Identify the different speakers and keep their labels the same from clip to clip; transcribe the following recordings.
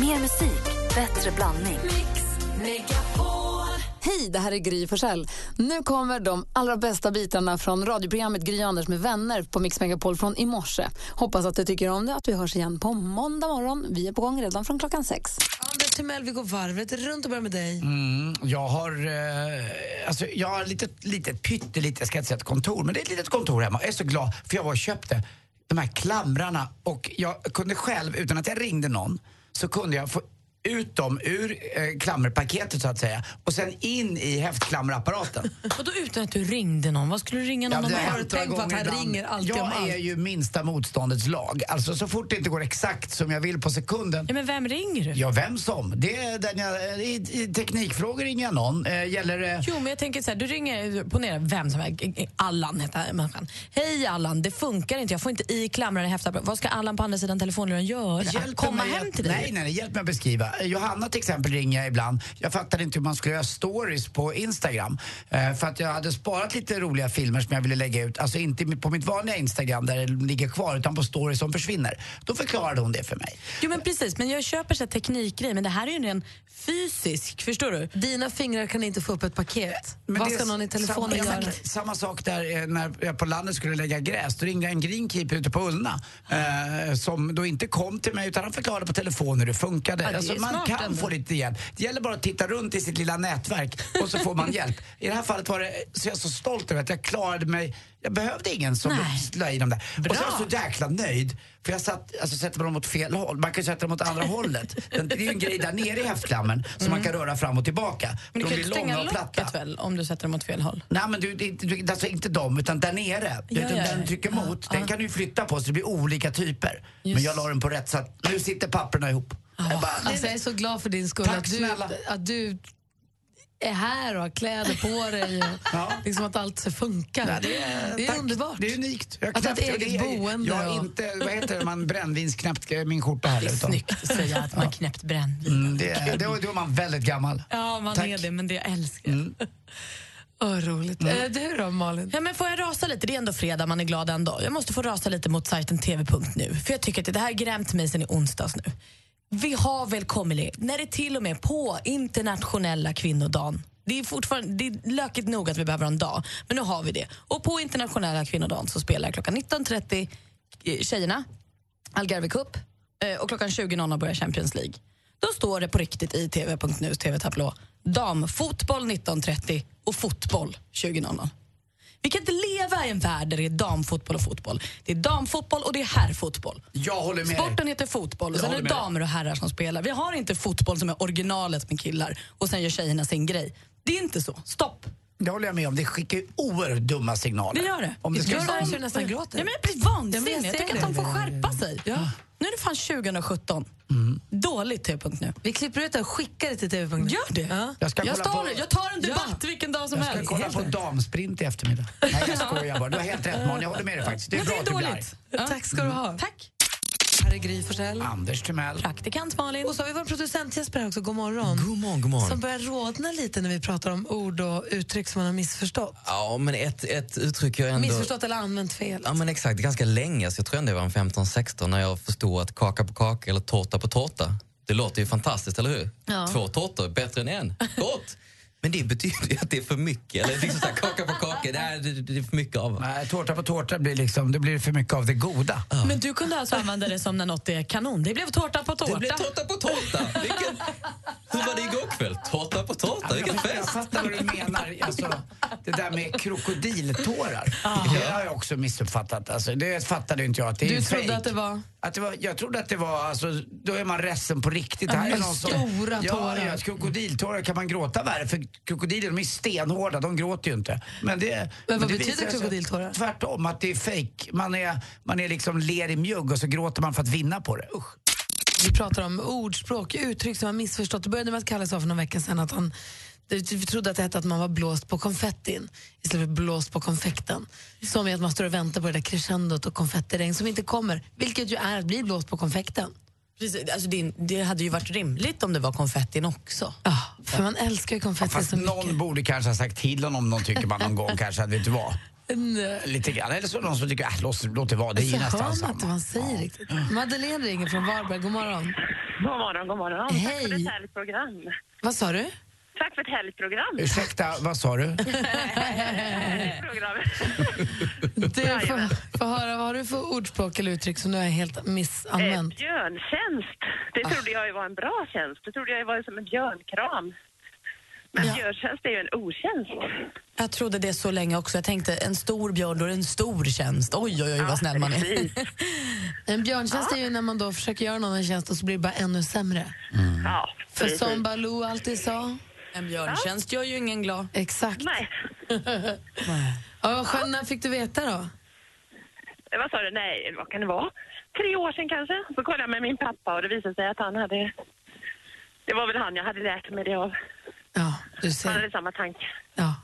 Speaker 1: Mer musik, bättre blandning.
Speaker 2: Hej, det här är Gry Forssell. Nu kommer de allra bästa bitarna från radioprogrammet Gry Anders med vänner på Mix Megapol från i morse. Hoppas att du tycker om det att vi hörs igen på måndag morgon. Vi är på gång redan från klockan sex.
Speaker 3: Anders Timell, vi går varvet runt och börjar med dig.
Speaker 4: Mm, jag har, eh, alltså, jag har lite, lite pyttelite, jag ska inte säga ett kontor, men det är ett litet kontor hemma. Jag är så glad för jag var och köpte de här klamrarna och jag kunde själv, utan att jag ringde någon, så kunde jag få ut dem ur eh, klammerpaketet så att säga och sen in i häftklammerapparaten.
Speaker 5: Vadå utan att du ringde någon? Vad skulle du ringa
Speaker 4: Ja,
Speaker 5: någon
Speaker 4: det
Speaker 5: om?
Speaker 4: har
Speaker 5: Har
Speaker 4: hänt
Speaker 5: du
Speaker 4: några
Speaker 5: tänkt på att
Speaker 4: gånger
Speaker 5: han
Speaker 4: ibland.
Speaker 5: ringer alltid
Speaker 4: Jag
Speaker 5: om allt?
Speaker 4: är ju minsta motståndets lag. Alltså så fort det inte går exakt som jag vill på sekunden
Speaker 5: Ja, men vem ringer du?
Speaker 4: Ja, vem som. Det är den jag, i, i teknikfrågor ringer jag någon. Eh, gäller det...
Speaker 5: Jo, men jag tänker så här, du ringer, ponera vem som helst, Allan heter han, människan. Hej Allan, det funkar inte, jag får inte i klamrar i häftar. Vad ska Allan på andra sidan telefonluren göra?
Speaker 4: Hjälp
Speaker 5: Komma
Speaker 4: mig
Speaker 5: hem
Speaker 4: att,
Speaker 5: till dig?
Speaker 4: Nej, nej, nej, hjälp mig att beskriva. Eh, Johanna till exempel ringer jag ibland. Jag fattade inte hur man skulle göra stories på Instagram. Eh, för att jag hade sparat lite roliga filmer som jag ville lägga ut. Alltså inte i- på mitt vanliga Instagram där det ligger kvar, utan på stories som försvinner. Då förklarade hon det för mig.
Speaker 5: Jo, men precis, men jag köper så här teknikgrej, men det här är ju en ren fysisk, förstår du?
Speaker 3: Dina fingrar kan inte få upp ett paket.
Speaker 4: Men
Speaker 3: Vad
Speaker 4: det är
Speaker 3: ska någon i telefonen
Speaker 4: samma,
Speaker 3: göra?
Speaker 4: exakt Samma sak där eh, när jag på landet skulle lägga gräs. Då ringde en greenkeeper ute på Ullna
Speaker 5: Ah.
Speaker 4: eh, som då inte kom till mig utan han förklarade på telefon hur det funkade.
Speaker 5: det är
Speaker 4: alltså, man
Speaker 5: smart
Speaker 4: kan
Speaker 5: ändå.
Speaker 4: få lite hjälp. Det gäller bara att titta runt i sitt lilla nätverk och så får man hjälp. I det här fallet var det, så jag är så stolt över att jag klarade mig. Jag behövde ingen som
Speaker 5: Nej.
Speaker 4: la i dem där. Och så är jag
Speaker 5: Bra.
Speaker 4: så jäkla nöjd. För jag satt, alltså sätter man dem åt fel håll. Man kan ju sätta dem åt andra hållet. Den, det är ju en grej där nere i häftklammen som man kan röra fram och tillbaka.
Speaker 5: Mm. Men du
Speaker 4: De
Speaker 5: kan ju
Speaker 4: blir
Speaker 5: inte stänga
Speaker 4: långa och platta.
Speaker 5: locket väl, om du sätter dem åt fel håll?
Speaker 4: Nej men du, det är inte- du, alltså inte dem utan där nere. Du
Speaker 5: Ja,
Speaker 4: vet,
Speaker 5: ja,
Speaker 4: den
Speaker 5: ja.
Speaker 4: trycker
Speaker 5: Ja,
Speaker 4: mot.
Speaker 5: ja.
Speaker 4: Den kan du ju flytta på så det blir olika typer. Men
Speaker 5: Just.
Speaker 4: jag la den på rätt så att nu sitter papperna ihop. Jag bara,
Speaker 3: Alltså, jag är så glad för din skull
Speaker 4: Tack
Speaker 3: att, du,
Speaker 4: snälla.
Speaker 3: att du är här och har kläder på dig och
Speaker 4: Ja.
Speaker 3: liksom att allt så funkar.
Speaker 4: nej,
Speaker 3: det är,
Speaker 4: tack.
Speaker 3: underbart.
Speaker 4: Det är unikt. Jag
Speaker 3: Att ha ett
Speaker 4: knäppte-
Speaker 3: eget
Speaker 4: det är-
Speaker 3: boende
Speaker 4: Jag
Speaker 3: och-
Speaker 4: har inte, vad heter det, man brännvinsknäppt min skjorta heller.
Speaker 5: Det är
Speaker 4: utan-
Speaker 5: snyggt att säga att man knäppt brännvin.
Speaker 4: Mm, det, då, då är man väldigt gammal.
Speaker 5: Ja, man
Speaker 4: Tack.
Speaker 5: är det, men det jag älskar jag.
Speaker 3: Åh, roligt. Eh, du då, Malin?
Speaker 5: Ja, men får jag rasa lite? Det är ändå fredag, man är glad ändå. Jag måste få rasa lite mot sajten tv.nu. För jag tycker att det här har grämt mig sen i onsdags nu. Vi har väl kommit när det till och med på internationella kvinnodagen. Det är fortfarande det är lökigt nog att vi behöver ha en dag, men nu har vi det. Och på internationella kvinnodagen så spelar klockan 19.30 eh, tjejerna Algarve Cup eh, och klockan 20.00 börjar Champions League. Då står det på riktigt i tv.nus tv-tablå damfotboll 19.30 och fotboll 20.00. Vi kan inte leva i en värld där det är damfotboll och fotboll. Det är damfotboll och det är herrfotboll.
Speaker 4: Jag håller med dig.
Speaker 5: Sporten heter fotboll och
Speaker 4: Jag
Speaker 5: sen är
Speaker 4: håller
Speaker 5: det
Speaker 4: med dig.
Speaker 5: damer och herrar som spelar. Vi har inte fotboll som är originalet med killar och sen gör tjejerna sin grej. Det är inte så. Stopp!
Speaker 4: Det håller jag med om. Det skickar ju oerhört dumma signaler.
Speaker 5: Det gör det.
Speaker 4: Om det ska,
Speaker 3: Gör det här så jag nästan gråter.
Speaker 5: Ja, men det blir
Speaker 3: Ja, men jag
Speaker 5: vansinnigt.
Speaker 3: ser
Speaker 5: Jag tycker
Speaker 3: det.
Speaker 5: att de får skärpa sig. Nu är det fan 2017.
Speaker 4: Mm.
Speaker 5: Dåligt tv-punkt nu.
Speaker 3: Vi klipper ut det och skickar det till tv.
Speaker 5: Gör det.
Speaker 3: Ja.
Speaker 4: jag ska
Speaker 5: Jag,
Speaker 4: kolla
Speaker 5: står,
Speaker 4: på...
Speaker 5: jag tar en debatt
Speaker 3: Ja.
Speaker 5: vilken dag som
Speaker 4: Jag ska
Speaker 5: helst.
Speaker 4: kolla på damsprint i eftermiddag. Nej, jag skojar bara. Du har helt rätt, Malin. Jag håller med dig faktiskt. Det är
Speaker 5: Men
Speaker 4: bra
Speaker 5: det är
Speaker 4: att du blir arg.
Speaker 5: dåligt. Ja.
Speaker 3: Tack ska du ha.
Speaker 5: Tack.
Speaker 3: Här är Gry Forssell.
Speaker 4: Anders Timell.
Speaker 5: Praktikant Malin.
Speaker 3: Och så har vi vår producent Jesper här också. God morgon.
Speaker 6: God morgon, god morgon.
Speaker 3: Som börjar rodna lite när vi pratar om ord och uttryck som man har missförstått.
Speaker 6: Ja, men ett, ett uttryck jag ändå...
Speaker 3: Missförstått eller använt fel.
Speaker 6: Ja, men exakt. Ganska länge, så jag tror ändå jag var 15-16 när jag förstod att kaka på kaka eller tårta på tårta, det låter ju fantastiskt, eller hur? Två tårtor, bättre än en. Gott! Men det betyder ju att det är för mycket. Eller liksom så här, kaka på kaka, det, är, det, det är för mycket av.
Speaker 4: Nej, tårta på tårta blir liksom, det blir för mycket av det goda.
Speaker 5: Men du kunde alltså använda det som när något är kanon. Det blev tårta på tårta.
Speaker 6: Det blev tårta på tårta! Vilken, hur var det igår kväll? Tårta på tårta, vilken
Speaker 4: Jag, jag
Speaker 6: fest!
Speaker 4: fattar vad du menar. Alltså, det där med krokodiltårar, det har jag också missuppfattat. Alltså, det fattade ju inte jag att det är
Speaker 3: Du
Speaker 4: en
Speaker 3: trodde
Speaker 4: fake.
Speaker 3: att det var-
Speaker 4: Att det var... Jag trodde att det var, alltså, då är man ledsen på riktigt. Det här är någon som,
Speaker 3: stora tårar.
Speaker 4: Ja, ja, krokodiltårar kan man gråta värre för krokodiler de är stenhårda, de gråter ju inte. Men, det,
Speaker 3: vad
Speaker 4: det
Speaker 3: betyder
Speaker 4: visar sig
Speaker 3: krokodiltårar?
Speaker 4: Tvärtom, att det är fake. Man är, man är liksom ler i mjugg och så gråter man för att vinna på det. Usch.
Speaker 3: Vi pratar om ordspråk, uttryck som man missförstått. Det började med att Kalle sa för någon vecka sedan att han vi trodde att det hette att man var blåst på konfettin istället för blåst på konfekten. Som är att man står och väntar på det där crescendot och konfettiregn som inte kommer, vilket ju är att bli blåst på konfekten.
Speaker 5: Precis, alltså det, det hade ju varit rimligt om det var konfettin också.
Speaker 3: Ja, för man älskar ju konfetti
Speaker 4: Fast
Speaker 3: så mycket.
Speaker 4: någon borde kanske ha sagt till honom om någon tycker man någon gång kanske att vet du vad?
Speaker 3: Nej.
Speaker 4: Lite grann. Eller så är det någon som tycker äh, låt, låt det vara, det är
Speaker 3: Så
Speaker 4: ju nästan
Speaker 3: hör man
Speaker 4: samma.
Speaker 3: inte vad han säger riktigt. Madeleine ringer från Varberg, god morgon.
Speaker 7: God morgon, god morgon. Tack för
Speaker 3: Hej.
Speaker 7: ett härligt program.
Speaker 3: Vad sa du?
Speaker 7: Tack för ett härligt program.
Speaker 4: Ursäkta, vad sa du?
Speaker 7: Härligt program.
Speaker 3: Du får, får höra, vad har du för ordspråk eller uttryck som du har helt
Speaker 7: Eh,
Speaker 3: missanvänt?
Speaker 7: björntjänst. Det
Speaker 5: Ah.
Speaker 7: trodde jag ju var en bra tjänst. Det trodde jag ju var som en björnkram. Men björntjänst är ju en otjänst.
Speaker 5: Jag trodde det så länge också. Jag tänkte en stor björn, då är det en stor tjänst. Oj, oj, oj vad snäll man är.
Speaker 7: Precis. Eh.
Speaker 3: En björntjänst är ju när man då försöker göra någon en tjänst och så blir det bara ännu sämre.
Speaker 5: Mm.
Speaker 7: Ja,
Speaker 3: För
Speaker 7: precis.
Speaker 3: som Baloo alltid sa.
Speaker 5: En björntjänst gör ju ingen glad.
Speaker 3: Exakt.
Speaker 7: Nej,
Speaker 3: Ja, vad skönt, när fick du veta då?
Speaker 7: Eh, vad sa du? Nej, vad kan det vara? Tre år sedan kanske. Så kollade jag med min pappa och det visade sig att han hade... Det var väl han jag hade lärt mig det av.
Speaker 3: Ja, du
Speaker 7: Han
Speaker 3: ser.
Speaker 7: hade samma tanke.
Speaker 3: Ja.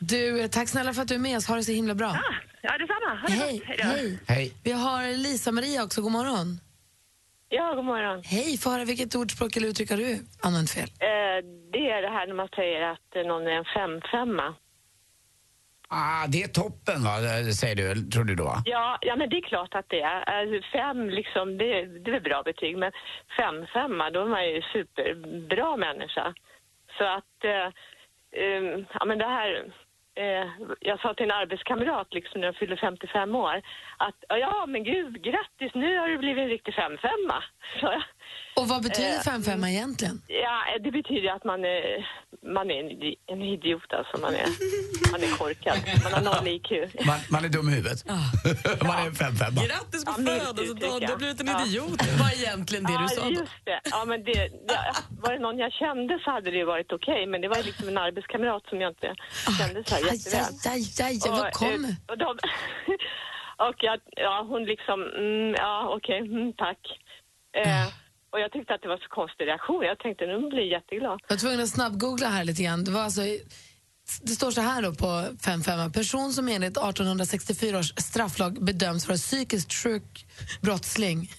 Speaker 3: Du, eh, tack snälla för att du är med oss. Ha det så himla bra.
Speaker 7: Ah, ja, detsamma. Ha det
Speaker 3: Hej,
Speaker 7: gott. då.
Speaker 3: hej.
Speaker 4: Hej.
Speaker 3: Vi har Lisa-Maria också. God morgon.
Speaker 8: Ja, god morgon.
Speaker 3: Hej, få höra vilket ordspråk eller uttryck har du använt fel?
Speaker 8: Eh, det är det här när man säger att eh, någon är en femfemma.
Speaker 4: Ah, det är toppen va, det säger du, tror du då? va?
Speaker 8: Ja, ja, men det är klart att det är. Alltså, fem, liksom, det, det är väl bra betyg, men femfemma, då är man ju superbra människa. Så att, eh, eh, ja men det här, eh, jag sa till en arbetskamrat liksom när jag fyllde 55 år, att ja men gud, grattis, nu har du blivit en riktig femfemma. sa jag.
Speaker 3: Och vad
Speaker 8: Eh,
Speaker 3: betyder fem
Speaker 8: mm.
Speaker 3: femma egentligen?
Speaker 8: Ja, det betyder att man är, man är en, idi- en idiot alltså. Man är, man är korkad. Man har noll IQ.
Speaker 4: Man, man är dum i huvudet. man är en femfemma.
Speaker 5: Grattis på
Speaker 8: Ja, milt uttryck, ja. Ja.
Speaker 5: idiot. Det var egentligen det
Speaker 8: Ja, just det. Ja, men det, ja, var det någon jag kände så hade det ju varit okej, men det var ju liksom en arbetskamrat som jag inte kände så här
Speaker 3: Aj, aj,
Speaker 8: jätteväl.
Speaker 3: aj, aj, vad
Speaker 8: eh,
Speaker 3: kommer?
Speaker 8: Och, de, och jag, ja, hon liksom, mm, ja okej, mm, tack. Eh, och jag tyckte att det var så konstig reaktion. Jag tänkte nu blir jag jätteglad.
Speaker 3: Jag var tvungen att snabbgoogla här lite grann. Det, var alltså, det står så här då på 55. Person som enligt 1864 års strafflag bedöms vara psykiskt sjuk brottsling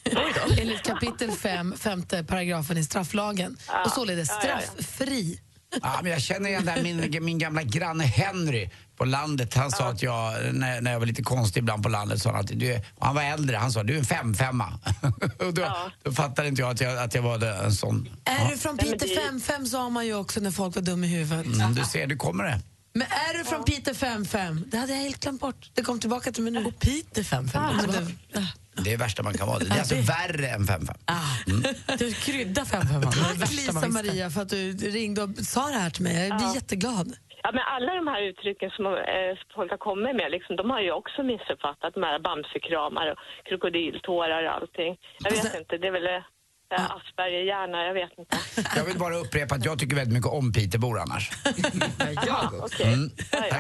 Speaker 3: enligt kapitel 5, femte paragrafen i strafflagen och således
Speaker 8: Ja, ja, ja.
Speaker 3: strafffri.
Speaker 4: Ja, men jag känner igen det här, min, min gamla granne Henry på landet. Han sa att jag, när, när jag var lite konstig ibland på landet, sa han att du är, och han var äldre, han sa du är en femfemma. och då, då fattade inte jag att jag, att jag var det- en sån.
Speaker 3: Är du från
Speaker 8: Nej, men
Speaker 3: Peter
Speaker 8: det-
Speaker 3: 55 sa man ju också när folk var dumma i huvudet.
Speaker 4: Mm, du ser, du kommer det.
Speaker 3: Men är du från Peter 55? Det hade jag helt glömt bort. Det kom tillbaka till mig nu.
Speaker 5: Och Peter femfemma.
Speaker 3: Men det-
Speaker 4: Det är det värsta man kan vara. Det är alltså värre än femfemma.
Speaker 3: ah, Mm.
Speaker 5: Du krydda femfemman. Det var det
Speaker 3: Tack
Speaker 5: värsta man visste.
Speaker 3: Lisa-Maria för att du ringde och sa det här till mig. Jag blir jätteglad.
Speaker 8: Ja, men alla de här uttrycken som eh, folk har kommit med, liksom, de har ju också missuppfattat. De här bamsekramar och krokodiltårar och allting. Jag vet inte, det är väl eh, Aspergerhjärna, jag vet inte.
Speaker 4: Jag vill bara upprepa att jag tycker väldigt mycket om Piteåbor annars. Mm.
Speaker 8: Ja, okej. Ja, ja.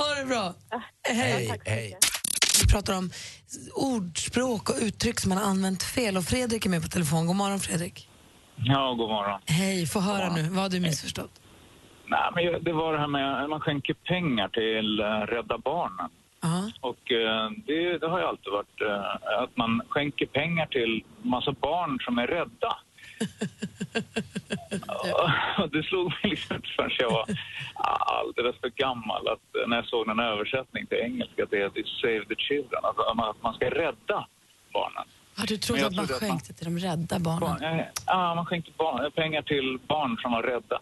Speaker 3: Ha det bra.
Speaker 4: Hej, hej.
Speaker 3: Vi pratar om ordspråk och uttryck som man har använt fel. Och Fredrik är med på telefon. God morgon Fredrik.
Speaker 9: Ja, god morgon.
Speaker 3: Hej, få höra nu. Vad har du missförstått?
Speaker 9: Nej, men jag- det var det här med att man skänker pengar till eh, Rädda Barnen.
Speaker 3: Ja.
Speaker 9: Och eh, det, det har ju alltid varit eh, att man skänker pengar till massa barn som är rädda. Ja, och det slog mig liksom inte förrän jag var alldeles för gammal att eh, när jag såg en översättning till engelska att det heter Save the Children, alltså att man- att man ska rädda barnen.
Speaker 5: Ja, du trodde
Speaker 9: Men jag
Speaker 5: att man
Speaker 9: trodde att man-
Speaker 5: skänkte till de rädda barnen.
Speaker 9: Barn, eh, ja, man skänker barn, pengar till barn som var rädda.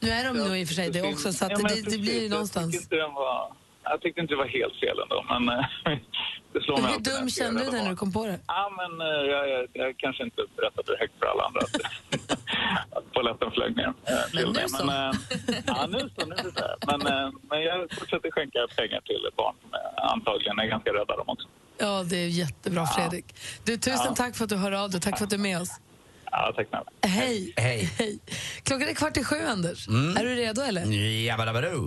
Speaker 3: Nu är de nog i och för sig det också, så att
Speaker 9: Ja, men
Speaker 3: det, det
Speaker 9: precis.
Speaker 3: blir ju
Speaker 9: Jag
Speaker 3: någonstans.
Speaker 9: tyckte, inte den var, jag tyckte inte det var helt fel ändå, men eh, det slår mig
Speaker 3: Hur
Speaker 9: alltid när
Speaker 3: dum
Speaker 9: jag ser
Speaker 3: kände du
Speaker 9: Rädda
Speaker 3: dig när du
Speaker 9: Barnen.
Speaker 3: kom på det?
Speaker 9: Ja, men eh, jag, jag, jag kanske inte berättade det högt för alla andra att, att polletten flög ner. eh, till
Speaker 5: nu
Speaker 9: mig.
Speaker 5: så.
Speaker 9: Men, eh, ja, nu så. Nu är det så här. Men, eh, men jag fortsätter skänka pengar till barn som eh, antagligen är ganska rädda de också.
Speaker 3: Ja, det är jättebra Fredrik. Du, tusen tack för att du hör av dig. Tack för att du är med oss.
Speaker 9: Ja, tack snälla.
Speaker 3: Hej.
Speaker 4: Hej.
Speaker 3: Hej. Klockan är kvart i sju, Anders.
Speaker 4: Mm.
Speaker 3: Är du redo eller?
Speaker 4: Jabbadabadoo.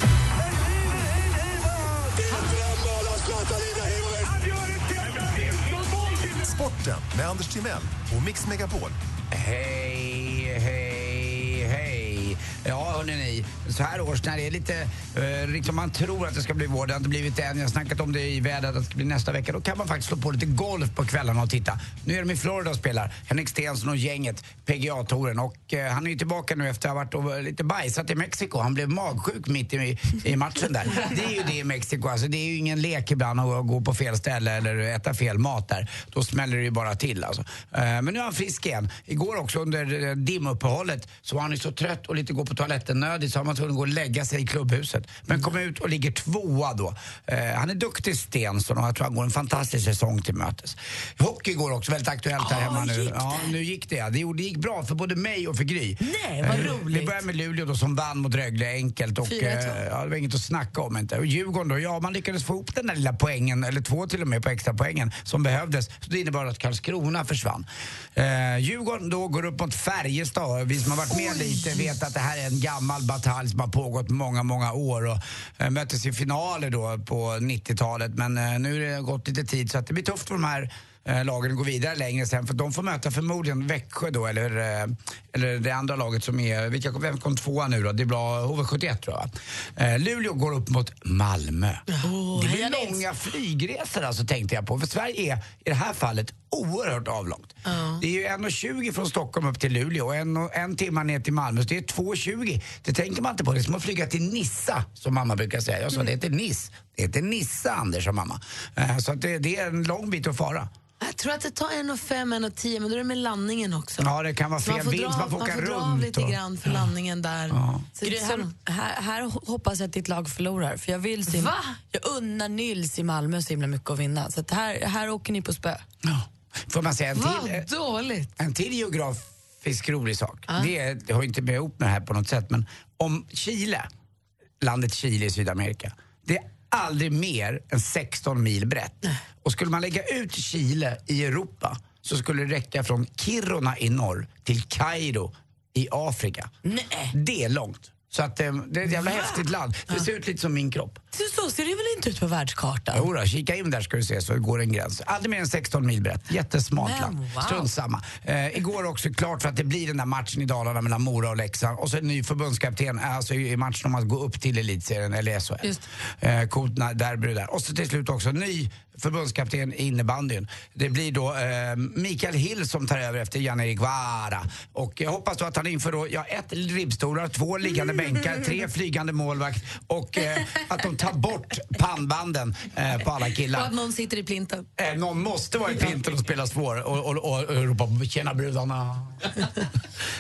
Speaker 10: Sporten med Anders Timell och Mix Megapol.
Speaker 4: Hej, hej, hej. Ja, hörni ni. Så här års när det är lite... Eh, liksom man tror att det ska bli vår, det har inte blivit det än. Jag har snackat om det i vädret, att det ska bli nästa vecka. Då kan man faktiskt slå på lite golf på kvällarna och titta. Nu är de i Florida och spelar. Henrik Stenson och gänget, pga toren Och eh, han är ju tillbaka nu efter att ha varit och eh, lite bajsat i Mexiko. Han blev magsjuk mitt i, i matchen där. Det är ju det i Mexiko. Alltså, det är ju ingen lek ibland att gå på fel ställe eller äta fel mat där. Då smäller det ju bara till alltså. Eh, Men nu är han frisk igen. Igår också under eh, dimuppehållet så var han ju så trött och lite gå på toaletten nödig så han var tvungen att gå och lägga sig i klubbhuset. Men kom ut och ligger tvåa då. Eh, Han är duktig Stensson och jag tror han går en fantastisk säsong till mötes. Hockey går också väldigt aktuellt här hemma nu. Ja, nu gick det. ja. Det gjorde- det gick bra för både mig och för Gry.
Speaker 5: Nej, vad
Speaker 4: Eh,
Speaker 5: roligt.
Speaker 4: Det började med Luleå då som vann mot Rögle enkelt. Och,
Speaker 3: 4-1, va?
Speaker 4: eh, ja, det var inget att snacka om inte. Och Djurgården då, ja man lyckades få ihop den där lilla poängen, eller två till och med på extra poängen som behövdes. Så det innebar att Karlskrona försvann. Eh, Djurgården då går upp mot Färjestad. Vi som har varit med lite vet att det här är en gammal batalj som har pågått många, många år och eh, möttes i finaler då på 90-talet. Men eh, nu har det gått lite tid så att det blir tufft för de här eh, lagen går vidare längre sen för de får möta förmodligen Växjö då eller, eh, eller det andra laget som är, vilka, vem kom tvåa nu då? Det blir HV71 tror jag. va? Eh, Luleå går upp mot Malmö. det blir långa flygresor alltså tänkte jag på för Sverige är i det här fallet oerhört avlångt. Det är ju 1.20 från Stockholm upp till Luleå och en, och en timme ner till Malmö så det är 2.20. Det tänker man inte på, det är som att flyga till Nissa som mamma brukar säga. Jag sa det heter Niss, det heter Nissa Anders sa mamma. Eh, så att det, det är en lång bit att fara.
Speaker 3: Jag tror att det tar en och fem, en och tio, men då är det med landningen också.
Speaker 4: Ja, det kan vara
Speaker 3: Så
Speaker 4: fel
Speaker 3: man får,
Speaker 4: bild,
Speaker 3: dra,
Speaker 4: så man får åka
Speaker 3: dra
Speaker 4: runt.
Speaker 3: av lite
Speaker 4: och-
Speaker 3: grann för landningen där. Så,
Speaker 5: Gry,
Speaker 3: så,
Speaker 5: här, här, här hoppas jag att ditt lag förlorar. För jag, vill se,
Speaker 3: Va?
Speaker 5: jag unnar Nils i Malmö så himla mycket att vinna. Så att här, här åker ni på spö.
Speaker 4: Ja. Får man säga en till, eh,
Speaker 3: vad dåligt!
Speaker 4: en till geografisk rolig sak. Det, är- det har ju inte med ihop med det här på något sätt, men om Chile, landet Chile i Sydamerika, det är aldrig mer än 16 mil brett. Och skulle man lägga ut Chile i Europa så skulle det räcka från Kiruna i norr till Kairo i Afrika.
Speaker 5: Nej.
Speaker 4: Det är långt. Så att, eh, det är ett jävla häftigt land. Det ser ut lite som min kropp.
Speaker 5: Så, så ser det väl inte ut på världskartan?
Speaker 4: Jo då, kika in där ska du se så går en gräns. Aldrig mer än 16 mil brett. Jättesmalt
Speaker 5: Men
Speaker 4: land.
Speaker 5: wow.
Speaker 4: Strunt samma. Eh, igår också klart för att det blir den där matchen i Dalarna mellan Mora och Leksand. Och så en ny förbundskapten, alltså i i matchen om att gå upp till elitserien eller SHL.
Speaker 3: Just.
Speaker 4: Eh, Kotna, Derby och där. Och så till slut också en ny förbundskapten i innebandyn. Det blir då eh, Mikael Hill som tar över efter Jan-Erik Vara. Och jag hoppas då att han inför då, ja, ett ribbstolar, två liggande bänkar, tre flygande målvakt och eh, att de tar bort pannbanden eh, på alla
Speaker 3: Och
Speaker 4: killar.
Speaker 3: att någon sitter i plinten.
Speaker 4: Eh, någon måste vara i pinten och spela svår och, och, och, och ropa “tjena brudarna”.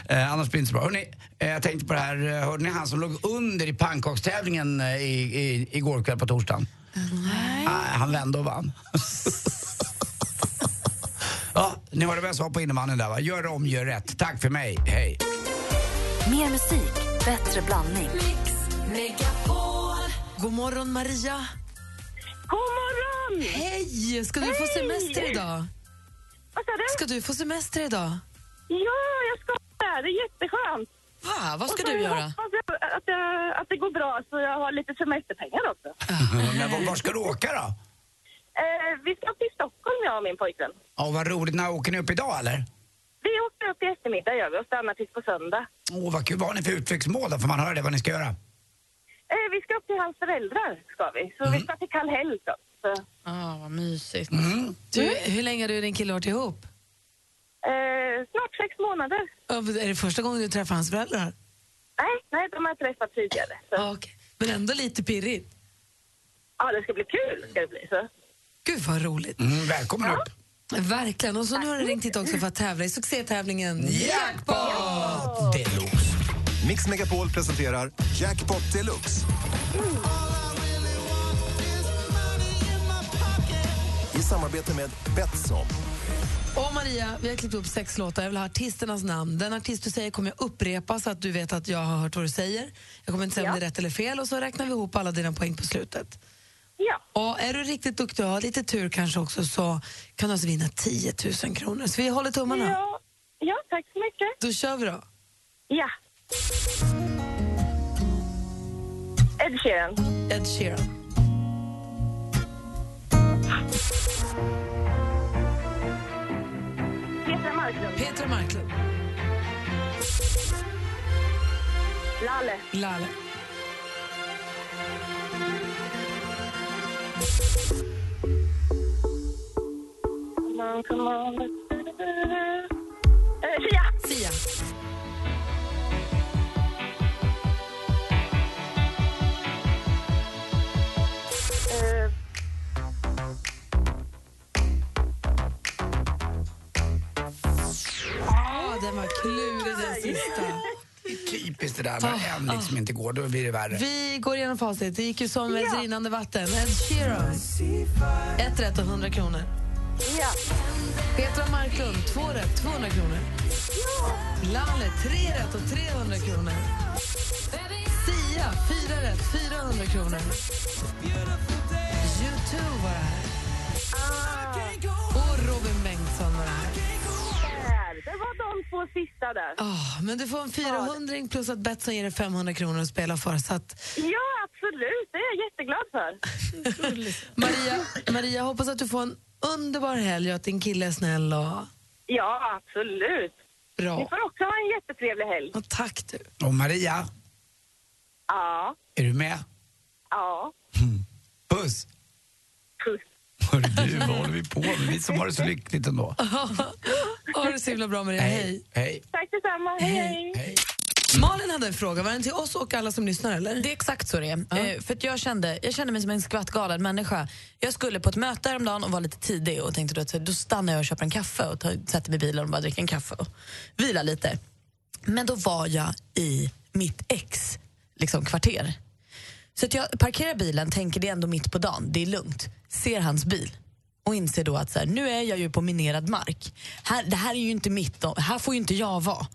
Speaker 4: eh, annars blir det inte så bra. Hörrni, eh, jag tänkte på det här, eh, hörde ni han som låg under i pannkakstävlingen eh, i, i, igår kväll på torsdagen? Nej. han vände och vann. ja, ni hörde vad jag sa på innebandyn där va? Gör om, gör rätt. Tack för mig, hej.
Speaker 1: Mer musik, bättre blandning.
Speaker 3: God morgon Maria!
Speaker 8: God morgon!
Speaker 3: Hej! Ska du få
Speaker 8: Hej!
Speaker 3: semester idag?
Speaker 8: Vad sa du?
Speaker 3: Ska du få semester idag?
Speaker 8: Ja, jag ska där. Det är jätteskönt.
Speaker 5: Va? Vad ska
Speaker 8: Och så
Speaker 5: du göra?
Speaker 8: hoppas jag att, jag, att det går bra så jag har lite semesterpengar också.
Speaker 4: Men var, var ska du åka då?
Speaker 8: Eh, vi ska till Stockholm, jag och min pojkvän.
Speaker 4: Ja, vad roligt. När åker ni upp idag eller?
Speaker 8: Vi åker upp i eftermiddag gör vi och stannar tills på söndag.
Speaker 4: Åh, vad kul. Vad har ni för utflyktsmål då? Får man höra det, vad ni ska göra?
Speaker 8: Eh, vi ska upp till hans föräldrar, ska vi. Så
Speaker 3: Mm.
Speaker 8: vi ska till Kallhäll. då. Så, Mm.
Speaker 5: Ah, vad mysigt.
Speaker 3: Mm. Du, hur länge har du och din kille varit ihop?
Speaker 8: eh, snart sex månader.
Speaker 3: Ö, Är det första gången du träffar hans föräldrar?
Speaker 8: Nej, nej, de har jag träffat tidigare. Så.
Speaker 3: Ja, okej. Men ändå lite pirrigt.
Speaker 8: Ja, det ska bli kul. Ska det bli, så.
Speaker 3: Gud vad roligt.
Speaker 4: Mm, välkommen upp.
Speaker 3: Verkligen. Och så nu har du ringt hit också för att tävla i succétävlingen
Speaker 4: Jackpot deluxe!
Speaker 10: Mix Megapol presenterar Jackpot Deluxe. I samarbete med Betsson.
Speaker 3: Och Maria, vi har klippt upp sex låtar. Jag vill ha artisternas namn. Den artist du säger kommer jag upprepa så att du vet att jag har hört vad du säger. Jag kommer inte säga om
Speaker 8: Ja.
Speaker 3: det är rätt eller fel och så räknar vi ihop alla dina poäng på slutet.
Speaker 8: Ja,
Speaker 3: Och är du riktigt duktig och har lite tur kanske också så kan du alltså vinna 10 000 kronor. Så vi håller tummarna.
Speaker 8: ja, ja, tack så mycket.
Speaker 3: Då kör vi då.
Speaker 8: Ja. Ed Sheeran.
Speaker 3: Ed Sheeran.
Speaker 8: Petra Marklund.
Speaker 3: Petra Marklund.
Speaker 7: Lalle.
Speaker 3: Lalle.
Speaker 7: Come on, come on. Eh, Sia!
Speaker 3: Sia.
Speaker 7: Eh,
Speaker 3: Ja, den var klurig den sista.
Speaker 4: Det är typiskt det där, när en liksom inte går, då blir det värre.
Speaker 3: Vi går igenom facit. Det gick ju som ett rinnande vatten. Ed Sheeran. Ett rätt och 100 kronor.
Speaker 7: ja.
Speaker 3: Petra Marklund, två rätt, 200 kronor. Lalle, tre rätt och 300 kronor. Sia, fyra rätt, 400 kronor. U2 var det här. Och Robin Bengtsson var det här.
Speaker 7: Där. Det var de två sista där.
Speaker 3: Ah, men du får en 400 plus att Betsson ger dig 500 kronor att spela för. Så att,
Speaker 7: Ja, absolut. Det är jag jätteglad för.
Speaker 3: Maria, Maria, hoppas att du får en underbar helg och att din kille är snäll och
Speaker 7: Ja, absolut. Ni
Speaker 3: bra.
Speaker 7: får också ha en jättetrevlig helg.
Speaker 3: Och tack du.
Speaker 4: Och Maria,
Speaker 7: Ja,
Speaker 4: är du med?
Speaker 7: ja.
Speaker 4: Puss!
Speaker 7: Puss.
Speaker 4: Hörru du, vad håller vi på med? Vi som har det så lyckligt ändå.
Speaker 3: Ha det så himla bra Maria, hej.
Speaker 4: Hej.
Speaker 7: Tack detsamma. Hej, hej.
Speaker 4: Hej.
Speaker 3: Malin hade en fråga, var den till oss och alla som lyssnar eller?
Speaker 5: Det är exakt så det är. Eh, För att jag, kände, jag kände mig som en skvattgalen människa. Jag skulle på ett möte häromdagen och var lite tidig och tänkte då att så här, då stannar jag och köper en kaffe och tar, sätter mig i bilen och bara dricker en kaffe och vilar lite. Men då var jag i mitt ex liksom, kvarter. Så att jag parkerar bilen, tänker det är ändå mitt på dagen, det är lugnt. Ser hans bil och inser då att så här, nu är jag ju på minerad mark. Här, det här är ju inte mitt, dom- här får ju inte jag vara.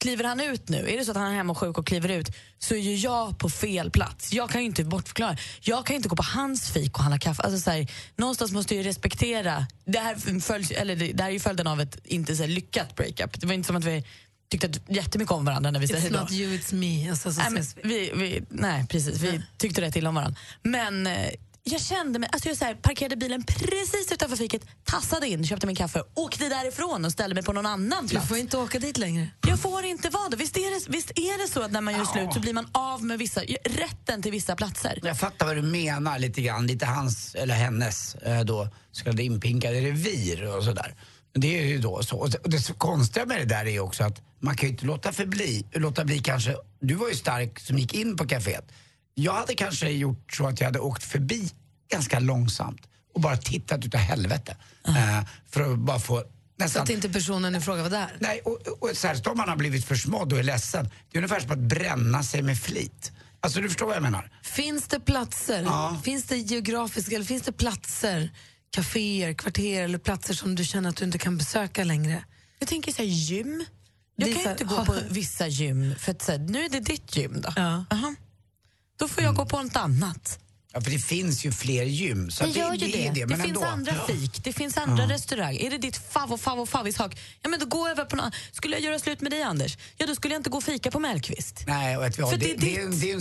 Speaker 5: Kliver han ut nu, är det så att han är hemma och sjuk och kliver ut så är ju jag på fel plats. Jag kan ju inte bortförklara. Jag kan ju inte gå på hans fik och handla kaffe. Alltså så här, någonstans måste jag ju respektera. Det här, följs, eller det, det här är ju följden av ett inte så här lyckat breakup. Det var inte som att vi tyckte att- jättemycket om varandra när vi säger
Speaker 3: It's
Speaker 5: då.
Speaker 3: not you, it's me. Alltså, så
Speaker 5: Nej, men
Speaker 3: ses vi.
Speaker 5: vi, vi, nej, precis. Vi tyckte rätt illa om varandra. Men eh, jag kände mig... Alltså jag så här, parkerade bilen precis utanför fiket, tassade in, köpte min kaffe, åkte därifrån och ställde mig på någon annan
Speaker 3: Du
Speaker 5: plats.
Speaker 3: får inte åka dit längre.
Speaker 5: Jag får inte vara det. Visst är det, visst är det så att när man gör slut så blir man av med vissa, rätten till vissa platser?
Speaker 4: Jag fattar vad du menar lite grann. Lite hans, eller hennes, eh, då, så kallade inpinkade revir och sådär. Det är ju då så. Och det- och det så konstiga med det där är ju också att man kan ju inte låta förbli, låta bli kanske, du var ju stark som gick in på kaféet. Jag hade kanske gjort så att jag hade åkt förbi ganska långsamt och bara tittat utav helvete. Eh, för att bara få
Speaker 3: Så
Speaker 4: nästan...
Speaker 3: att inte personen i fråga var där.
Speaker 4: Nej, och, och särskilt om man har blivit försmådd och är ledsen. Det är ungefär som att bränna sig med flit. Alltså du förstår vad jag menar?
Speaker 3: Finns det platser,
Speaker 4: Ja.
Speaker 3: finns det geografiska, eller finns det platser, kaféer, kvarter eller platser som du känner att du inte kan besöka längre?
Speaker 5: Jag tänker så här, gym. Jag
Speaker 3: Det är
Speaker 5: kan ju
Speaker 3: så här-
Speaker 5: inte gå på vissa gym, för att, så här, nu är det ditt gym då.
Speaker 3: Ja.
Speaker 5: Aha. Då får jag gå på något annat.
Speaker 4: Ja, för det finns ju fler gym. Så
Speaker 5: Det
Speaker 4: att det,
Speaker 5: gör ju
Speaker 4: det,
Speaker 5: det.
Speaker 4: är
Speaker 5: Det,
Speaker 4: det. Men
Speaker 5: finns
Speaker 4: ändå.
Speaker 5: andra fik, det finns andra restauranger. Är det ditt fav och fav och favvishak, ja men då gå över på någon. Skulle jag göra slut med dig Anders, ja då skulle jag inte gå och fika på Mellqvist.
Speaker 4: Nej, och vet vi,
Speaker 5: För
Speaker 4: vad,
Speaker 5: det
Speaker 4: det,
Speaker 5: är
Speaker 4: det, är
Speaker 5: ditt.
Speaker 4: en, det är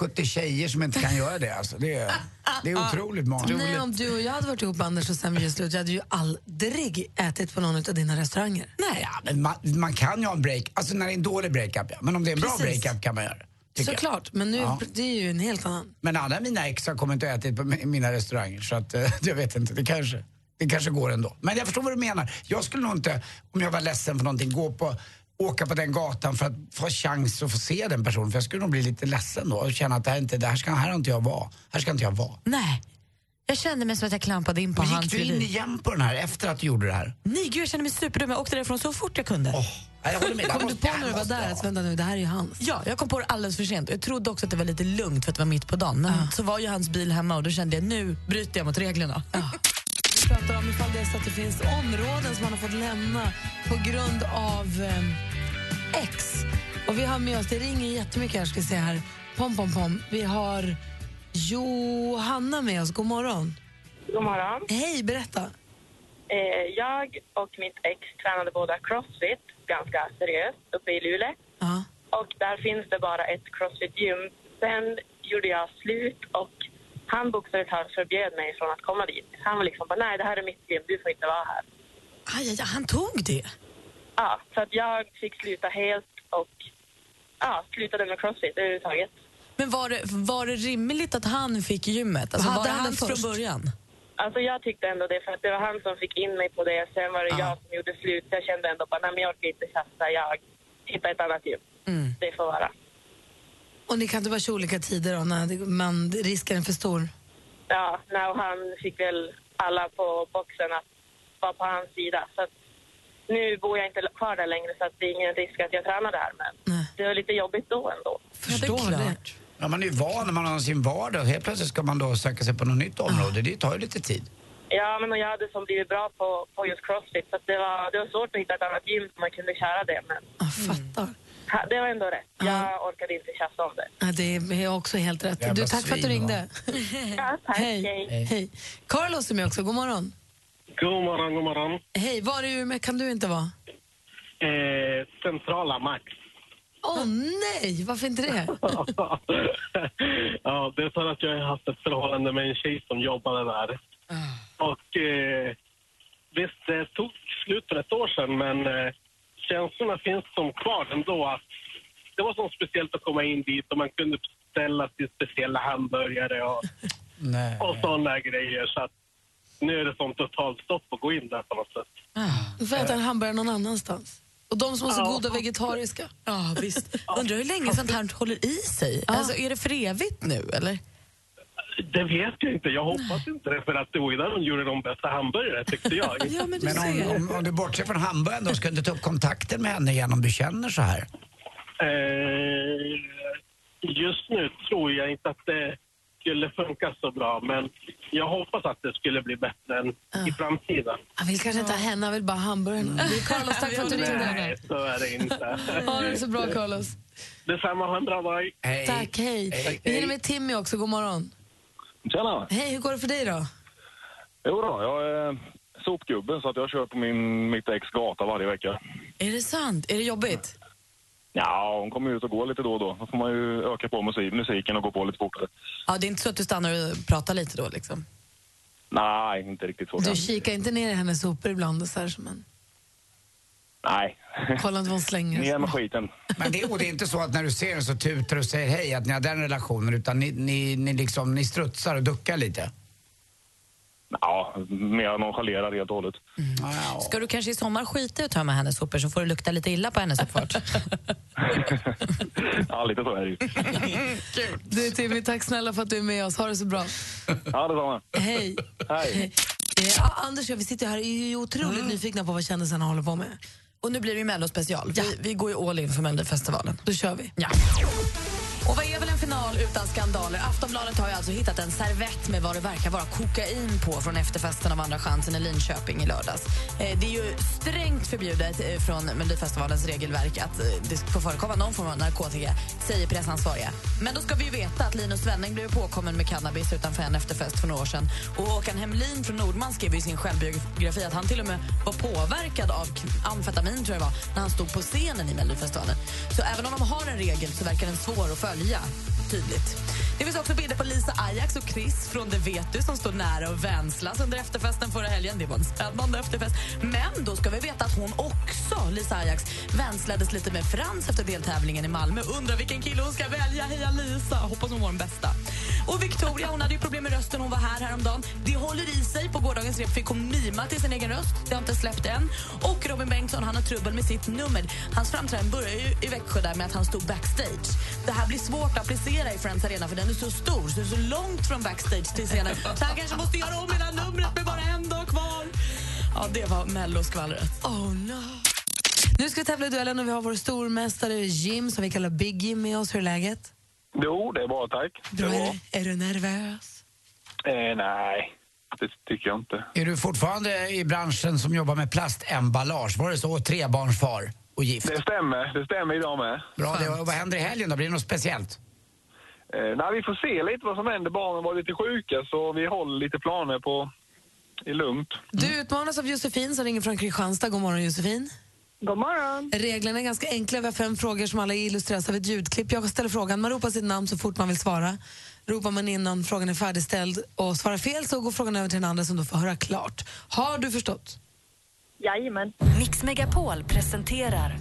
Speaker 4: en 60-70 tjejer som inte kan göra det. Alltså. Det, är, det är otroligt många.
Speaker 3: Nej, om du och jag hade varit ihop Anders och sen vi gör slut, jag hade ju aldrig ätit på någon av dina restauranger.
Speaker 5: Nej,
Speaker 4: Ja, men man, man kan ju ha en break, alltså när det är en dålig breakup ja. Men om det är en bra
Speaker 3: Precis.
Speaker 4: breakup kan man göra det. tycker jag.
Speaker 3: Såklart, men nu,
Speaker 4: Ja.
Speaker 3: det är ju en helt annan.
Speaker 4: Men alla mina ex har kommit och ätit på mi- mina restauranger så att eh, jag vet inte, det kanske, det kanske går ändå. Men jag förstår vad du menar. Jag skulle nog inte, om jag var ledsen för någonting, gå på åka på den gatan för att få chans att få se den personen. För jag skulle nog bli lite ledsen då och känna att det här, är inte, det här, ska, här har inte jag vara. Här ska inte jag vara.
Speaker 5: nej. Jag kände mig som att jag klampade in på
Speaker 4: Men
Speaker 5: hans
Speaker 4: gick du in
Speaker 5: revir.
Speaker 4: igen på den här efter att du gjorde det här?
Speaker 5: Nej gud, jag kände mig superdum. Jag åkte därifrån så fort jag kunde.
Speaker 4: Åh, nej, jag håller med. Det här
Speaker 3: Kom du
Speaker 4: måste-
Speaker 3: på
Speaker 4: det här
Speaker 3: när du var
Speaker 4: måste
Speaker 3: där
Speaker 4: jag
Speaker 3: att
Speaker 4: ha.
Speaker 3: vänta nu, det här är ju hans?
Speaker 5: Ja, jag kom på det alldeles för sent. Jag trodde också att det var lite lugnt för att det var mitt på dagen. Men så var ju hans bil hemma och då kände jag nu bryter jag mot reglerna.
Speaker 3: Vi pratar om ifall det är så att det finns områden som man har fått lämna på grund av eh, X. Och vi har med oss, det ringer jättemycket här ska vi se här. Pom, pom, pom. Vi har Johanna med oss, god morgon.
Speaker 7: God morgon.
Speaker 3: Hej, berätta.
Speaker 7: Eh, jag och mitt ex tränade båda crossfit ganska seriöst uppe i Luleå.
Speaker 3: Ja.
Speaker 7: Och där finns det bara ett crossfit-gym. Sen gjorde jag slut och han bokstavligt förbjöd mig från att komma dit. Han var liksom bara, nej det här är mitt gym, du får inte vara här.
Speaker 5: Aj, aj, aj, han tog det.
Speaker 7: Ja, så att jag fick sluta helt och ja, slutade med crossfit överhuvudtaget.
Speaker 5: Men var det, var det rimligt att han fick gymmet? Alltså,
Speaker 3: Hade
Speaker 5: var det
Speaker 3: han
Speaker 5: han
Speaker 3: först?
Speaker 5: från början?
Speaker 7: Alltså jag tyckte ändå det, för att det var han som fick in mig på det. Sen var det jag som gjorde slut. Jag kände ändå bara, nej men jag orkar inte tjafsa. Jag hittar ett annat gym. Det får vara.
Speaker 3: Och ni kan inte bara köra olika tider då, när det- man risken är för stor?
Speaker 7: Ja, nej, och han fick väl alla på boxen att vara på hans sida. Så att nu bor jag inte kvar där längre så att det är ingen risk att jag tränar där. Men det var lite jobbigt då ändå.
Speaker 3: Förstår det.
Speaker 4: Ja, man är ju van, man har sin vardag. Helt plötsligt ska man då söka sig på något nytt
Speaker 3: Ah.
Speaker 4: område. Det tar ju lite tid.
Speaker 7: Ja, men och jag hade som blivit bra på, på just crossfit så att det, var, det var svårt att hitta ett annat gym som man kunde köra det. Men
Speaker 3: Jag fattar.
Speaker 7: ha- det var ändå rätt. Jag orkade inte tjafsa om det.
Speaker 3: Ja, det är också helt rätt.
Speaker 4: Jävla
Speaker 3: Du, tack för att du
Speaker 4: svin,
Speaker 3: ringde.
Speaker 7: Ja, tack.
Speaker 3: Hej. Hej. Carlos är med också. God morgon.
Speaker 11: God morgon, god morgon.
Speaker 3: Hej, var i Umeå kan du inte vara?
Speaker 11: Eh, centrala Max.
Speaker 3: Åh nej, varför inte det?
Speaker 11: ja, det är för att jag har haft ett förhållande med en tjej som jobbade där.
Speaker 3: Ah.
Speaker 11: Och eh, visst, det tog slut för ett år sedan, men eh, känslorna finns som kvar ändå. Att det var så speciellt att komma in dit och man kunde beställa sin speciella hamburgare och,
Speaker 4: Nej.
Speaker 11: och sådana grejer. Så att nu är det som totalt stopp att gå in där på något sätt.
Speaker 4: Ah.
Speaker 3: Du får äta en hamburgare någon annastans. Och de som har så
Speaker 11: Ja.
Speaker 3: goda vegetariska.
Speaker 5: Ja, visst. Undrar hur länge sånt här håller i sig? Alltså, är det för evigt nu, eller?
Speaker 11: Det vet jag inte. Jag hoppas inte det, för att det var ju där de gjorde de bästa hamburgare tyckte jag.
Speaker 3: Ja, men du
Speaker 4: Men om,
Speaker 3: ser.
Speaker 4: om, om du bortser från hamburgaren då, ska du inte ta upp kontakten med henne igen om du känner så här?
Speaker 11: Eh, just nu tror jag inte att det skulle funka så bra, men jag hoppas att det skulle bli bättre än i framtiden.
Speaker 3: Han vill kanske inte ha henne, han vill bara ha hamburgaren.
Speaker 4: Mm.
Speaker 3: Du, Carlos, tack för att du ringde.
Speaker 11: Nej, så är det inte.
Speaker 3: Ha det så bra, Carlos.
Speaker 11: Detsamma, ha en bra dag.
Speaker 4: Hej.
Speaker 3: Tack, hej.
Speaker 4: Hej.
Speaker 3: Vi hinner med Timmy också. God morgon.
Speaker 11: Tjena!
Speaker 3: Hej, hur går det för dig då?
Speaker 11: Jo då, jag är sopgubben så att jag kör på min, mitt ex gata varje vecka.
Speaker 5: Är det sant? Är det jobbigt?
Speaker 11: Ja, hon kommer ut och går lite då och då. Då får man ju öka på musik, musiken och gå på lite fortare.
Speaker 5: Ja, det är inte så att du stannar och pratar lite då, liksom?
Speaker 11: Nej, inte riktigt så
Speaker 3: Du
Speaker 11: kanske.
Speaker 3: kikar inte ner i hennes sopor ibland och så här som en...
Speaker 11: Nej,
Speaker 3: Kolla inte vad hon
Speaker 11: ner
Speaker 3: slänger.
Speaker 11: med skiten.
Speaker 4: Men det, och det är inte så att när du ser den så tutar du och säger hej att ni har den relationen utan ni, ni, ni, liksom, ni strutsar och duckar lite.
Speaker 11: Ja, mer nonchalerar helt och hållet.
Speaker 4: Wow.
Speaker 5: Ska du kanske i sommar skita i att tömma hennes sopor så får du lukta lite illa på hennes uppfart?
Speaker 11: Ja, lite så är det ju.
Speaker 3: Du Timmy, tack snälla för att du är med oss. Ha det så bra.
Speaker 11: Ja, detsamma.
Speaker 3: Hej.
Speaker 11: Hej.
Speaker 3: Eh, ja, Anders och jag, vi sitter här och är ju otroligt nyfikna på vad kändisarna håller på med.
Speaker 5: Mm. Och nu blir det ju Mellospecial. Vi, vi går ju all in för Melodifestivalen.
Speaker 3: Då kör vi.
Speaker 5: Ja. Och vad är väl en final utan skandaler? Aftonbladet har ju alltså hittat en servett med vad det verkar vara kokain på från efterfesten av Andra chansen i Linköping i lördags. Eh, det är ju strängt förbjudet eh, från Melodifestivalens regelverk att eh, det får förekomma någon form av narkotika, säger pressansvariga. Men då ska vi ju veta att Linus Svenning blev påkommen med cannabis utanför en efterfest för några år sedan. Och Håkan Hemlin från Nordman skrev i sin självbiografi att han till och med var påverkad av k- amfetamin tror jag det var, när han stod på scenen i Melodifestivalen. Så även om de har en regel så verkar den svår att följa. Tydligt. Det finns också bilder på Lisa Ajax och Chris från Det vet du som står nära och vänslas under efterfesten förra helgen. Det var en spännande efterfest. Men då ska vi veta att hon också, Lisa Ajax, vänslades lite med Frans efter deltävlingen i Malmö. Undrar vilken kille hon ska välja. Heja Lisa! Hoppas hon får den bästa. Och Victoria hon hade ju problem med rösten hon var här häromdagen. Det håller i sig. På gårdagens rep fick hon mima till sin egen röst. Det har inte släppt än. Och Robin Bengtsson han har trubbel med sitt nummer. Hans framträdande börjar ju i Växjö där med att han stod backstage. Det här blir svårt att applicera i Friends Arena för den är så stor, så det är så långt från backstage till scenen. Så han kanske måste göra om hela numret med bara en dag kvar. Ja, det var melloskvallret.
Speaker 3: Oh no. Nu ska vi tävla i duellen och vi har vår stormästare Jim som vi kallar Big Jim med oss. Hur är läget?
Speaker 11: Jo, det är bara tack.
Speaker 3: Bra. Är, du- är du nervös?
Speaker 11: Eh, nej, det tycker jag inte.
Speaker 4: Är du fortfarande i branschen som jobbar med plastemballage? Var det så? Trebarnsfar och gift.
Speaker 11: Det stämmer, det stämmer idag med.
Speaker 4: Bra, det, vad händer i helgen då? Blir det något speciellt?
Speaker 11: Eh, nej, vi får se lite vad som händer. Barnen var lite sjuka så vi håller lite planer på i lugnt.
Speaker 3: Du utmanas av Josefin som ringer från Kristianstad. God morgon Josefin.
Speaker 7: God morgon!
Speaker 3: Reglerna är ganska enkla. Vi har fem frågor som alla illustreras av ett ljudklipp. Jag ställer frågan, man ropar sitt namn så fort man vill svara. Ropar man innan frågan är färdigställd och svarar fel så går frågan över till den andra som då får höra klart. Har du förstått?
Speaker 7: Jajamän.
Speaker 6: Mix Megapol presenterar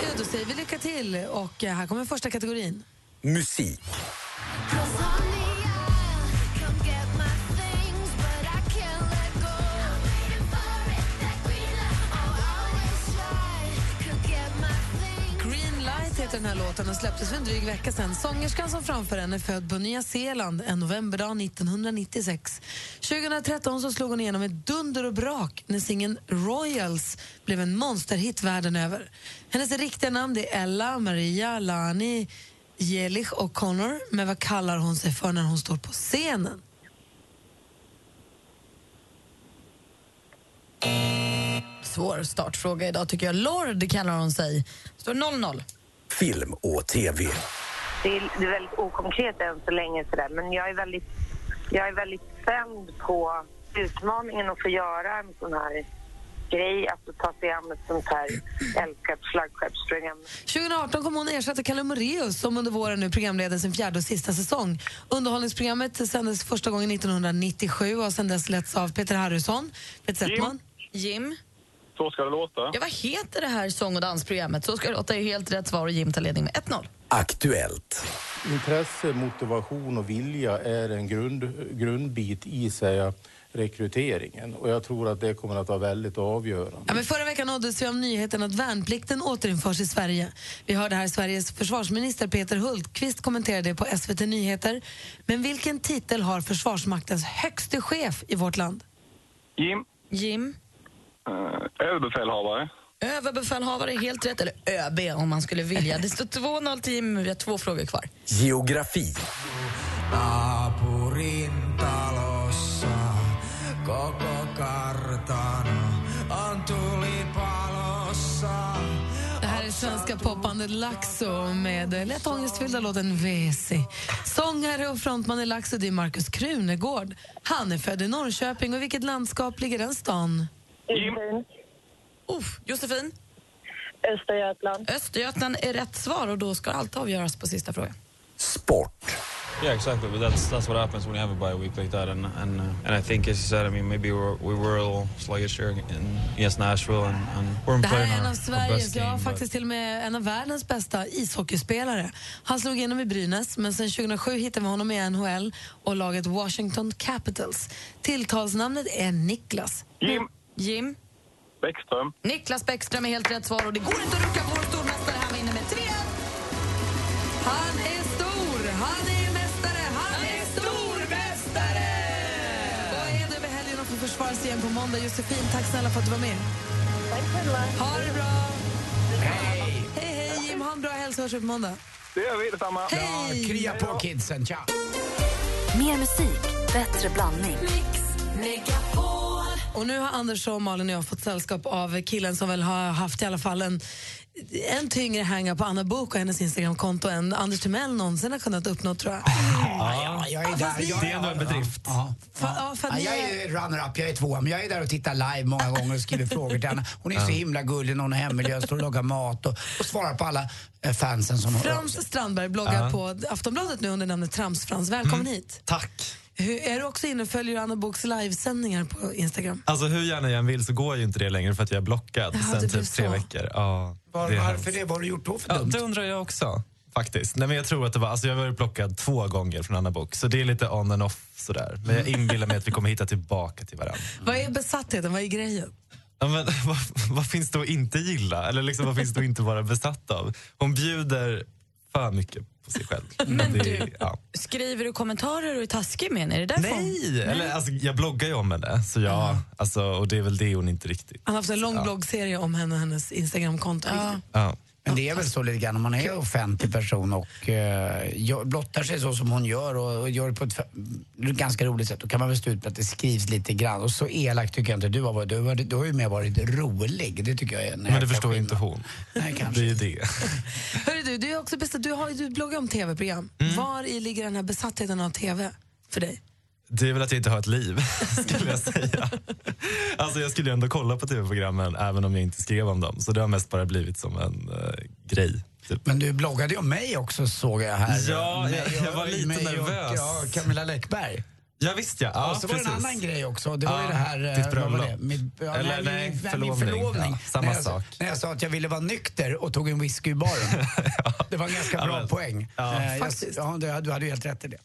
Speaker 3: Eh, Då säger vi lycka till och eh, här kommer första kategorin.
Speaker 11: Musik.
Speaker 3: Greenlight heter den här låten och släpptes för en dryg vecka sedan. Sångerskan som framför den är född på Nya Zeeland en novemberdag 1996. 2013 så slog hon igenom ett dunder och brak när singeln Royals blev en monsterhit världen över. Hennes riktiga namn det är Ella Maria Lani Jelich och Connor, men vad kallar hon sig för när hon står på scenen?
Speaker 5: Svår startfråga idag tycker jag. Lord kallar hon sig. Står 0-0.
Speaker 11: Film och TV.
Speaker 7: Det är, det är väldigt okonkret än så länge sådär, men jag är väldigt, jag är väldigt spänd på utmaningen att få göra en sån här grej, att få ta sig an ett sånt här älskat flaggskeppsprogram.
Speaker 3: 2018 kommer hon ersätta Kalle Moraeus som under våren nu programleder sin fjärde och sista säsong. Underhållningsprogrammet sändes första gången 1997 och har sedan dess letts av Peter Harrison, Peter Settman.
Speaker 5: Jim?
Speaker 9: Så ska det låta.
Speaker 5: Ja, vad heter det här sång och dansprogrammet? Så ska jag låta är helt rätt svar och Jim tar ledning med 1-0.
Speaker 11: Aktuellt.
Speaker 12: Intresse, motivation och vilja är en grund, grundbit i säga, rekryteringen. Och jag tror att det kommer att vara väldigt avgörande.
Speaker 3: Ja, men förra veckan nåddes vi av nyheten att värnplikten återinförs i Sverige. Vi hörde här Sveriges försvarsminister Peter Hultqvist kommentera det på SVT Nyheter. Men vilken titel har Försvarsmaktens högste chef i vårt land?
Speaker 9: Jim,
Speaker 5: Jim?
Speaker 9: eh, överbefälhavare.
Speaker 5: Överbefälhavare är helt rätt, eller ÖB om man skulle vilja. Det står 2-0 till Jim, vi har två frågor kvar.
Speaker 11: Geografi.
Speaker 13: Naapurin talossa koko kartano on tulipalossa.
Speaker 3: Det här är svenska popbandet Laxo med lätt ångestfyllda låten WC. Sångare och frontman i Laxo det är Markus Krunegård. Han är född i Norrköping och i vilket landskap ligger den stan?
Speaker 7: Jim.
Speaker 5: Uff, Josefin?
Speaker 7: Östergötland.
Speaker 5: Östergötland är rätt svar och då ska allt avgöras på sista frågan.
Speaker 11: Sport.
Speaker 14: Yeah, exactly. But that's that's what happens when you have a bye week like that, and and uh, and I think, as you said, I mean, maybe we were, we were a little sluggish here in against Nashville, and, and we're
Speaker 3: Det här
Speaker 14: playing
Speaker 3: är en
Speaker 14: our, our
Speaker 3: av
Speaker 14: best
Speaker 3: Sveriges,
Speaker 14: game.
Speaker 3: ja
Speaker 14: but-
Speaker 3: faktiskt till och med en av världens bästa ishockeyspelare. Han slog igenom i Brynäs, men sen 2007 hittade vi honom i NHL och laget Washington Capitals. Tilltalsnamnet är Niklas.
Speaker 9: Jim
Speaker 5: Jim?
Speaker 9: Bäckström.
Speaker 5: Niklas Bäckström är helt rätt svar och det går inte att rucka på vår stormästare. Han vinner med 3
Speaker 3: Han är stor, han är mästare, han är stormästare! Och är nu med helgen och får försvara sig igen på måndag. Josefin, tack snälla för att du var med.
Speaker 7: Tack snälla.
Speaker 3: Ha det bra! Hej! Hej, hej Jim. Ha en bra helg så hörs vi på måndag.
Speaker 9: Det gör vi, detsamma.
Speaker 4: Ja, krya på kidsen, tja!
Speaker 1: Mer musik, bättre blandning.
Speaker 3: Och nu har Anders och Malin och jag fått sällskap av killen som väl har haft i alla fall en, en tyngre hänga på Anna Bok och hennes Instagramkonto än Anders Timell någonsin har kunnat uppnå tror jag.
Speaker 4: Ja, jag är där. Jag,
Speaker 14: Det är ändå en bedrift.
Speaker 4: Ja.
Speaker 3: Fa- ja, för att
Speaker 4: Ja,
Speaker 3: ni
Speaker 4: jag
Speaker 3: är-
Speaker 4: är runner-up, jag är tvåa, men jag är där och tittar live många gånger och skriver frågor till henne. Hon är så himla gullig när hon är hemmiljö, står och lagar mat och, och svarar på alla eh, fansen som hör av sig.
Speaker 3: Frans Strandberg bloggar på Aftonbladet nu under namnet Trams-Frans. Välkommen hit.
Speaker 15: Mm. Tack.
Speaker 3: Hur, är du också inne och följer Anna Boks livesändningar på Instagram?
Speaker 15: Alltså hur gärna jag än vill så går ju inte det längre för att jag är blockad
Speaker 3: Jaha, det
Speaker 15: sen
Speaker 3: blev
Speaker 15: typ tre
Speaker 3: så.
Speaker 15: veckor. Ja,
Speaker 4: Var,
Speaker 15: det är
Speaker 4: varför
Speaker 15: hemskt.
Speaker 4: det? Vad har du gjort då för
Speaker 15: Ja,
Speaker 4: dumt?
Speaker 15: det undrar jag också faktiskt. Nej, men jag tror att det var, alltså jag har varit blockad två gånger från Anna Bok så det är lite on and off sådär. Men jag inbillar mig att vi kommer hitta tillbaka till varandra.
Speaker 3: Vad är besattheten? Vad är grejen?
Speaker 15: Ja, men, vad, vad finns det att inte gilla? Eller liksom, vad finns det att inte vara besatt av? Hon bjuder för mycket på sig själv. Men det, ja.
Speaker 5: Skriver du kommentarer och är taskig med henne? Är det därför?
Speaker 15: Nej! Eller, alltså, jag bloggar ju om henne så jag, alltså, och det är väl det hon inte riktigt...
Speaker 3: Han har haft en lång
Speaker 15: Ja.
Speaker 3: bloggserie om henne och hennes Instagramkonto.
Speaker 15: Ja.
Speaker 4: Men det är väl så lite grann, om man är offentlig person och eh, gör- blottar sig så som hon gör och, och gör det på ett f- ganska roligt sätt, då kan man väl stå ut med att det skrivs lite grann. Och så elak tycker jag inte du har varit. Du har, varit- du har ju mer varit rolig. Det tycker jag är en
Speaker 15: Men det
Speaker 4: jäkla
Speaker 15: förstår ju
Speaker 4: skillnad.
Speaker 15: inte hon.
Speaker 4: Nej, kanske.
Speaker 15: Det är ju det.
Speaker 3: Hörru du, du, är också besatt, du, har, ju- du bloggar om tv-program.
Speaker 15: Mm.
Speaker 3: Var i ligger den här besattheten av tv för dig?
Speaker 15: Det är väl att jag inte har ett liv, skulle jag säga. Alltså jag skulle ju ändå kolla på tv-programmen även om jag inte skrev om dem. Så det har mest bara blivit som en eh, grej. Typ.
Speaker 4: Men du bloggade ju om mig också såg jag här.
Speaker 15: Ja,
Speaker 4: Mig
Speaker 15: jag- jag var
Speaker 4: och-
Speaker 15: lite
Speaker 4: mig och,
Speaker 15: nervös.
Speaker 4: Ja, Camilla Läckberg.
Speaker 15: Ja visst ja, ja
Speaker 4: och så var det en
Speaker 15: precis.
Speaker 4: annan grej också. Det var
Speaker 15: Ja,
Speaker 4: ju det här... eh,
Speaker 15: ditt
Speaker 4: vad var
Speaker 15: bröllop.
Speaker 4: min, ja, nej,
Speaker 15: Eller nej,
Speaker 4: min,
Speaker 15: förlovning.
Speaker 4: min förlovning.
Speaker 15: Ja, samma
Speaker 4: när jag,
Speaker 15: sak.
Speaker 4: När jag sa att jag ville vara nykter och tog en whisky i baren. Det var en ganska
Speaker 15: Ja,
Speaker 4: bra
Speaker 15: men-
Speaker 4: poäng.
Speaker 15: Ja.
Speaker 4: Eh, jag-
Speaker 15: Faktiskt.
Speaker 4: Ja, du, du hade ju helt rätt i det.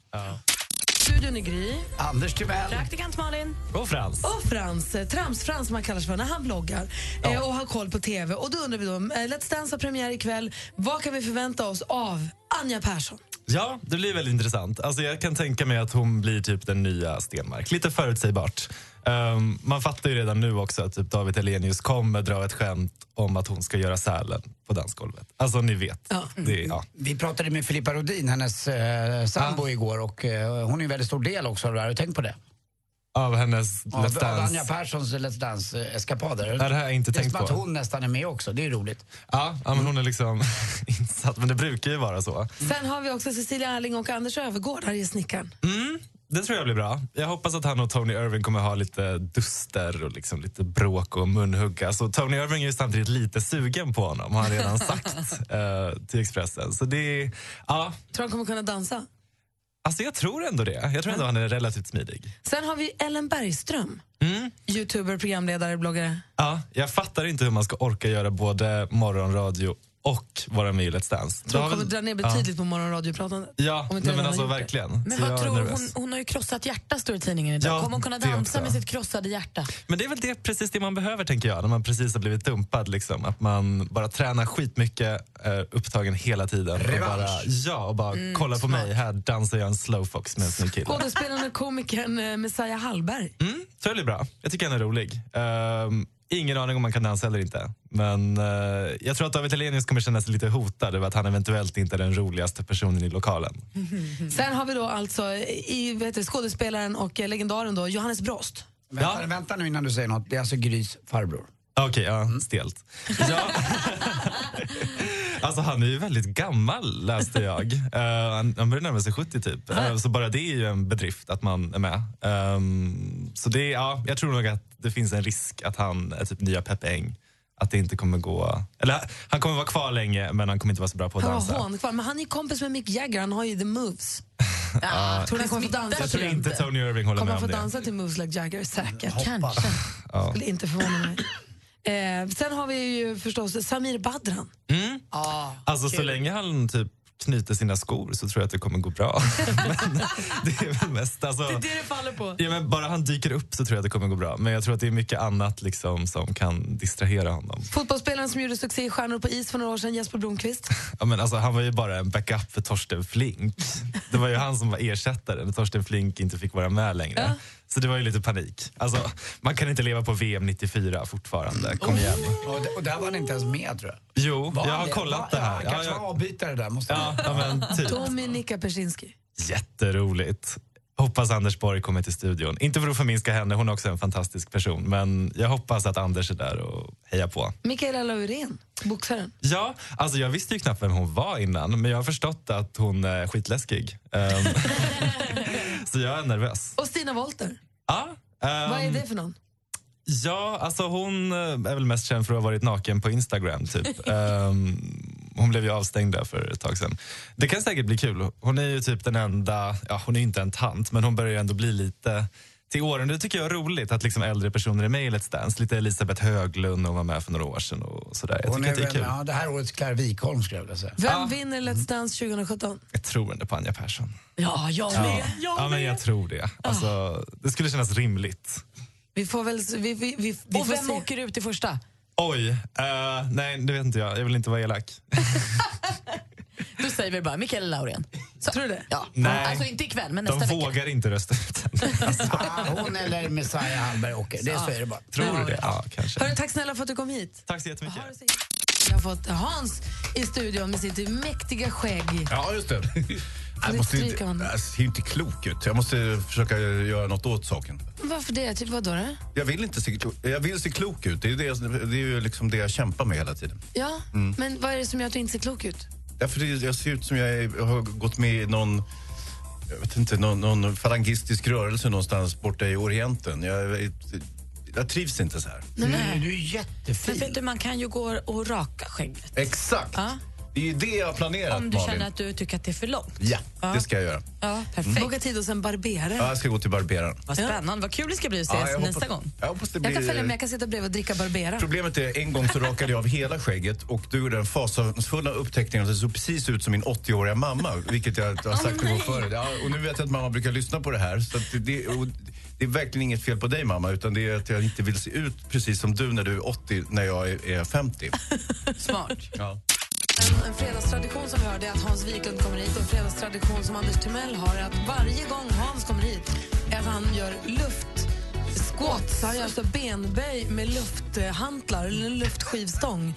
Speaker 3: Studion är Gry.
Speaker 4: Anders Timell.
Speaker 3: Praktikant Malin.
Speaker 15: Och Frans.
Speaker 3: Och Frans, eh, Trams-Frans som han kallas för när han vloggar eh, och har koll på TV. Och då undrar vi då, eh, Let's Dance har premiär ikväll. Vad kan vi förvänta oss av Anja Persson?
Speaker 15: Ja, det blir väldigt intressant. Alltså jag kan tänka mig att hon blir typ den nya Stenmark. Lite förutsägbart. Ehm, man fattar ju redan nu också att typ David Hellenius kommer dra ett skämt om att hon ska göra Sälen på dansgolvet. Alltså ni vet. Det, ja.
Speaker 4: Mm. Vi pratade med Filippa Rodin, hennes eh, sambo, igår och eh, hon är en väldigt stor del också av det här. Har du tänkt på det?
Speaker 15: Av hennes
Speaker 4: Av,
Speaker 15: Let's
Speaker 4: av
Speaker 15: Dance.
Speaker 4: Anja Perssons Let's Dance-eskapader.
Speaker 15: Nej, det har jag inte
Speaker 4: det är
Speaker 15: tänkt
Speaker 4: som att
Speaker 15: på.
Speaker 4: hon nästan är med också. Det är ju roligt.
Speaker 15: Ja, ja, men hon är liksom insatt. Men det brukar ju vara så.
Speaker 3: Sen har vi också Cecilia Erling och Anders Öfvergård här i Snickaren.
Speaker 15: Mm, det tror jag blir bra. Jag hoppas att han och Tony Irving kommer ha lite duster och liksom lite bråk och munhugg. Alltså, Tony Irving är ju samtidigt lite sugen på honom, har han redan sagt eh, till Expressen. Så det, ja,
Speaker 3: Tror han kommer kunna dansa?
Speaker 15: alltså jag tror ändå det. Jag tror ändå han är relativt smidig.
Speaker 3: Sen har vi Ellen Bergström.
Speaker 15: Mm.
Speaker 3: Youtuber, programledare, bloggare.
Speaker 15: Ja, jag fattar inte hur man ska orka göra både morgonradio och vara med i Let's Dance.
Speaker 3: Tror
Speaker 15: Det har
Speaker 3: hon kommer
Speaker 15: väl-
Speaker 3: dra ner
Speaker 15: Ja.
Speaker 3: betydligt på morgonradiopratandet.
Speaker 15: Ja,
Speaker 3: Om inte
Speaker 15: nej, men
Speaker 3: redan
Speaker 15: alltså
Speaker 3: har gjort det.
Speaker 15: verkligen.
Speaker 5: Men
Speaker 15: Så jag
Speaker 5: vad
Speaker 15: är
Speaker 5: tror du?
Speaker 15: nervös.
Speaker 5: Hon, hon har ju krossat hjärta, står det i tidningen idag.
Speaker 15: Ja,
Speaker 5: Kommer hon kunna
Speaker 15: det
Speaker 5: dansa
Speaker 15: också.
Speaker 5: med sitt krossade hjärta?
Speaker 15: Men det är väl det, precis det man behöver tänker jag, när man precis har blivit dumpad. Liksom. Att man bara tränar skitmycket, eh, upptagen hela tiden. Och
Speaker 4: Revansch.
Speaker 15: bara, ja, och bara
Speaker 3: Mm,
Speaker 15: kolla på
Speaker 3: smart.
Speaker 15: mig, här dansar jag en slowfox med en snygg kille.
Speaker 3: Skådespelaren och komikern eh, Messiah Hallberg.
Speaker 15: Mm, så det blir bra. Jag tycker han är rolig. Ehm, ingen aning om man kan dansa eller inte. Men eh, jag tror att David Hellenius kommer känna sig lite hotad över att han eventuellt inte är den roligaste personen i lokalen. Mm.
Speaker 3: Sen har vi då alltså eh, i, vad heter det, skådespelaren och eh, legendaren då, Johannes Brost.
Speaker 4: Vänta, vänta nu innan du säger något. Det är alltså Grys farbror.
Speaker 15: Okej,
Speaker 3: Mm.
Speaker 15: ja, stelt. Ja. alltså han är ju väldigt gammal läste jag. Eh, han, han börjar närma sig 70 typ. Eh, så bara det är ju en bedrift att man är med. Ehm, så det, är- ja, jag tror nog att det finns en risk att han är typ nya Peppe Eng. Att det inte kommer gå... Eller han kommer vara kvar länge men han kommer inte vara så bra på att
Speaker 3: Han var
Speaker 15: dansa.
Speaker 3: hånkvar, men han är ju kompis med Mick Jagger, han har ju the moves.
Speaker 15: Ja,
Speaker 3: tror du han kommer få dansa
Speaker 15: jag tror
Speaker 3: till
Speaker 15: inte
Speaker 3: det?
Speaker 15: Tony Irving håller
Speaker 3: Kommer han
Speaker 15: med om
Speaker 3: få
Speaker 15: det.
Speaker 3: dansa till moves like Jagger? Säkert.
Speaker 5: Kanske.
Speaker 15: Ja.
Speaker 3: Skulle inte förvåna mig. Eh, sen har vi ju förstås Samir Badran.
Speaker 15: Mm.
Speaker 3: Ah,
Speaker 15: Alltså så
Speaker 3: kul.
Speaker 15: länge han typ knyter sina skor så tror jag att det kommer gå bra. men det är väl mest alltså...
Speaker 3: Det är det det faller på.
Speaker 15: Ja, men bara han dyker upp så tror jag att det kommer gå bra. Men jag tror att det är mycket annat liksom, som kan distrahera honom.
Speaker 3: Fotbollsspelaren som gjorde succé i Stjärnor på is för några år sedan, Jesper Blomqvist.
Speaker 15: Ja, men alltså, han var ju bara en backup för Torsten Flink. Det var ju han som var ersättare när Torsten Flink inte fick vara med längre. Så det var ju lite panik. Alltså, man kan inte leva på VM 94 fortfarande. Kom igen.
Speaker 4: Och, d- och där var han inte ens med tror jag.
Speaker 15: Jo,
Speaker 4: Var
Speaker 15: Oh. jag
Speaker 4: han
Speaker 15: har
Speaker 4: det?
Speaker 15: kollat
Speaker 4: Ja,
Speaker 15: det här.
Speaker 4: Han
Speaker 15: Ja,
Speaker 4: kanske var
Speaker 15: jag,
Speaker 4: avbytare där. Måste
Speaker 15: ja, ja, men typ.
Speaker 3: Dominika Persinski.
Speaker 15: Jätteroligt. Hoppas Anders Borg kommer till studion. Inte för att förminska henne, hon är också en fantastisk person. Men jag hoppas att Anders är där och hejar på.
Speaker 3: Mikaela Laurén, boxaren.
Speaker 15: Ja, alltså jag visste ju knappt vem hon var innan, men jag har förstått att hon är skitläskig. Ehm, så jag är nervös.
Speaker 3: Och Stina Wolter.
Speaker 15: Ja, ehm,
Speaker 3: Vad är det för någon?
Speaker 15: Ja, alltså hon eh, är väl mest känd för att ha varit naken på Instagram. Typ. Ehm, hon blev ju avstängd där för ett tag sedan. Det kan säkert bli kul. Hon är ju typ den enda, ja hon är ju inte en tant, men hon börjar ju ändå bli lite till åren. Det tycker jag är roligt att liksom äldre personer är med i Let's Dance. Lite Elisabeth Höglund, hon var med för några år sedan och sådär. Jag
Speaker 4: Hon
Speaker 15: tycker
Speaker 4: är
Speaker 15: att det är
Speaker 4: väl,
Speaker 15: kul.
Speaker 4: ja, det här årets Claire Wikholm skulle jag vilja säga.
Speaker 15: Ah.
Speaker 3: Vem vinner Let's Dance 2017?
Speaker 15: Jag tror ändå på Anja Persson.
Speaker 3: Ja, jag
Speaker 15: Ja, ja men jag tror det.
Speaker 5: Ah.
Speaker 15: Alltså, det skulle kännas rimligt.
Speaker 3: Vi får väl... s- Vi, vi, vi, vi
Speaker 5: Och
Speaker 3: får
Speaker 5: vem
Speaker 3: se.
Speaker 5: åker ut i första?
Speaker 15: Oj, eh, nej det vet inte jag. Jag vill inte vara elak.
Speaker 5: Då säger vi bara Mikaela Laurén. Så.
Speaker 3: Tror du det?
Speaker 5: Ja.
Speaker 15: Nej.
Speaker 5: Alltså inte ikväll, men
Speaker 15: De
Speaker 5: nästa vecka.
Speaker 15: vågar inte rösta ut henne.
Speaker 4: Ah, hon eller Messiah Hallberg åker. Det, så är det bara.
Speaker 15: Tror du det? Ja, kanske.
Speaker 3: Hörru, tack snälla för att du kom hit.
Speaker 15: Tack så jättemycket.
Speaker 3: Jag har fått Hans i studion med sitt mäktiga skägg.
Speaker 16: Ja, just det. Jag
Speaker 3: Nu
Speaker 16: måste ju
Speaker 3: stryker
Speaker 16: inte,
Speaker 3: hon.
Speaker 16: jag ser ju inte klok ut. Jag måste försöka göra något åt saken.
Speaker 3: Varför det? Typ, vadå då?
Speaker 16: Jag vill, inte se, jag vill se klok ut. Det är, det, det är ju liksom det jag kämpar med hela tiden.
Speaker 3: Ja,
Speaker 16: Mm.
Speaker 3: men vad är det som gör att du inte ser klok ut?
Speaker 16: Därför det- jag ser ut som jag är, har gått med i någon, jag vet inte, någon, någon falangistisk rörelse någonstans borta i Orienten. Jag, jag, jag trivs inte så här.
Speaker 4: Nej, du är jättefin.
Speaker 5: Men vet du, man kan ju gå och raka skägget.
Speaker 16: Exakt.
Speaker 5: Ja.
Speaker 16: Det är ju det jag har planerat,
Speaker 5: Om du
Speaker 16: Malin.
Speaker 5: känner att du tycker att det är för långt.
Speaker 16: Ja,
Speaker 5: Ja.
Speaker 16: det ska jag göra.
Speaker 5: Ja, perfekt.
Speaker 3: Boka tid hos en barberare.
Speaker 16: Ja, jag ska gå till barberaren.
Speaker 5: Vad spännande, vad kul det ska bli att
Speaker 16: Ja,
Speaker 5: ses
Speaker 16: jag hoppas-
Speaker 5: nästa gång.
Speaker 16: Jag hoppas det blir...
Speaker 3: Jag kan följa med, jag kan sitta bredvid och dricka barberare.
Speaker 16: Problemet är, en gång så rakade jag av hela skägget och du gjorde den fasansfulla upptäckningen att det såg precis ut som min 80-åriga mamma, vilket jag har sagt till oh, förut. Ja, och nu vet jag att mamma brukar lyssna på det här. Så att det, det, och det är verkligen inget fel på dig mamma, utan det är att jag inte vill se ut precis som du när du är 80, när jag är, är 50.
Speaker 5: Smart.
Speaker 16: Ja.
Speaker 3: En fredagstradition som vi har det är att Hans Wiklund kommer hit och en fredagstradition som Anders Timell har är att varje gång Hans kommer hit är att han gör luft squats, han gör så benböj med lufthantlar eller en luftskivstång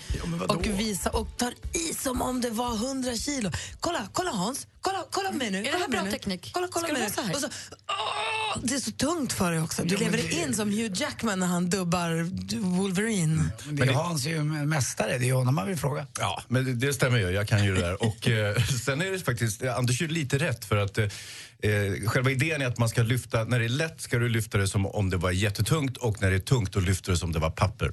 Speaker 3: och, visa, och tar i som om det var 100 kilo. Kolla, kolla Hans, kolla, kolla mig nu.
Speaker 17: Är det
Speaker 3: kolla
Speaker 17: här bra
Speaker 3: mig nu.
Speaker 17: teknik?
Speaker 3: Kolla, kolla
Speaker 17: Ska det
Speaker 3: mig
Speaker 17: vara så här?
Speaker 3: nu. Och så, åh, det är så tungt för dig också. Du lever in som Hugh Jackman när han dubbar Wolverine.
Speaker 4: Men det är Hans är ju en mästare, det är ju honom man vill fråga.
Speaker 16: Ja, men det, det stämmer ju. Jag kan ju det där. Och eh, sen är det faktiskt, eh, Anders gjorde lite rätt för att eh, eh, själva idén är att man ska lyfta, när det är lätt ska du lyfta det som om det var jättetungt och när det är tungt då lyfter du som om det var papper.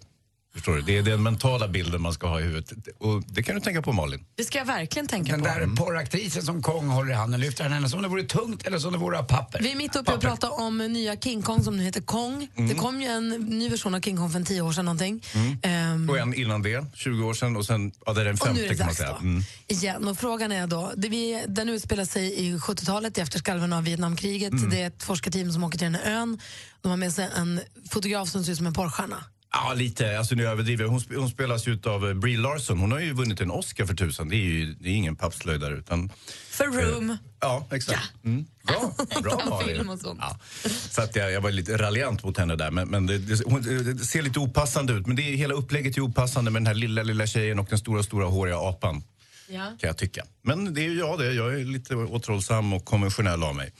Speaker 16: Förstår du? Det är den mentala bilden man ska ha i huvudet. Och det kan du tänka på Malin.
Speaker 5: Det ska jag verkligen tänka
Speaker 4: Den
Speaker 5: på.
Speaker 4: där porraktrisen som Kong håller i handen lyfter han henne som om det vore tungt eller som om det vore av papper.
Speaker 3: Vi är mitt uppe i att prata om nya King Kong som nu heter Kong.
Speaker 16: Mm.
Speaker 3: Det kom ju en ny version av King Kong för en tio år sedan någonting.
Speaker 16: Mm.
Speaker 3: Ehm,
Speaker 16: Och en innan det, 20 år sedan och sen, ja det är den
Speaker 3: Och nu är det
Speaker 16: femte kan man
Speaker 3: dags
Speaker 16: säga.
Speaker 3: då.
Speaker 16: Mm.
Speaker 3: Igen, och frågan är då, det vi, den utspelar sig i 70-talet i efterskalven av Vietnamkriget.
Speaker 16: Mm.
Speaker 3: Det är ett forskarteam som åker till den här ön. De har med sig en fotograf som ser ut som en porrstjärna.
Speaker 16: Ja, lite. Alltså, nu överdriver jag. Hon, sp- hon spelas ju av eh, Brie Larson. Hon har ju vunnit en Oscar för tusan. Det är ju det är ingen pappslöjdare. Utan,
Speaker 5: För Room.
Speaker 16: Ja, exakt. Mm. Bra, bra
Speaker 5: Utan
Speaker 16: Malin.
Speaker 5: film och sånt.
Speaker 16: Ja. Så att jag, jag var lite raljant mot henne där. Men, men det, det, hon, det ser lite opassande ut. Men det är, hela upplägget är opassande med den här lilla, lilla tjejen och den stora, stora håriga apan. Kan jag tycka. Men det är ju jag det. Jag är lite återhållsam och konventionell av mig.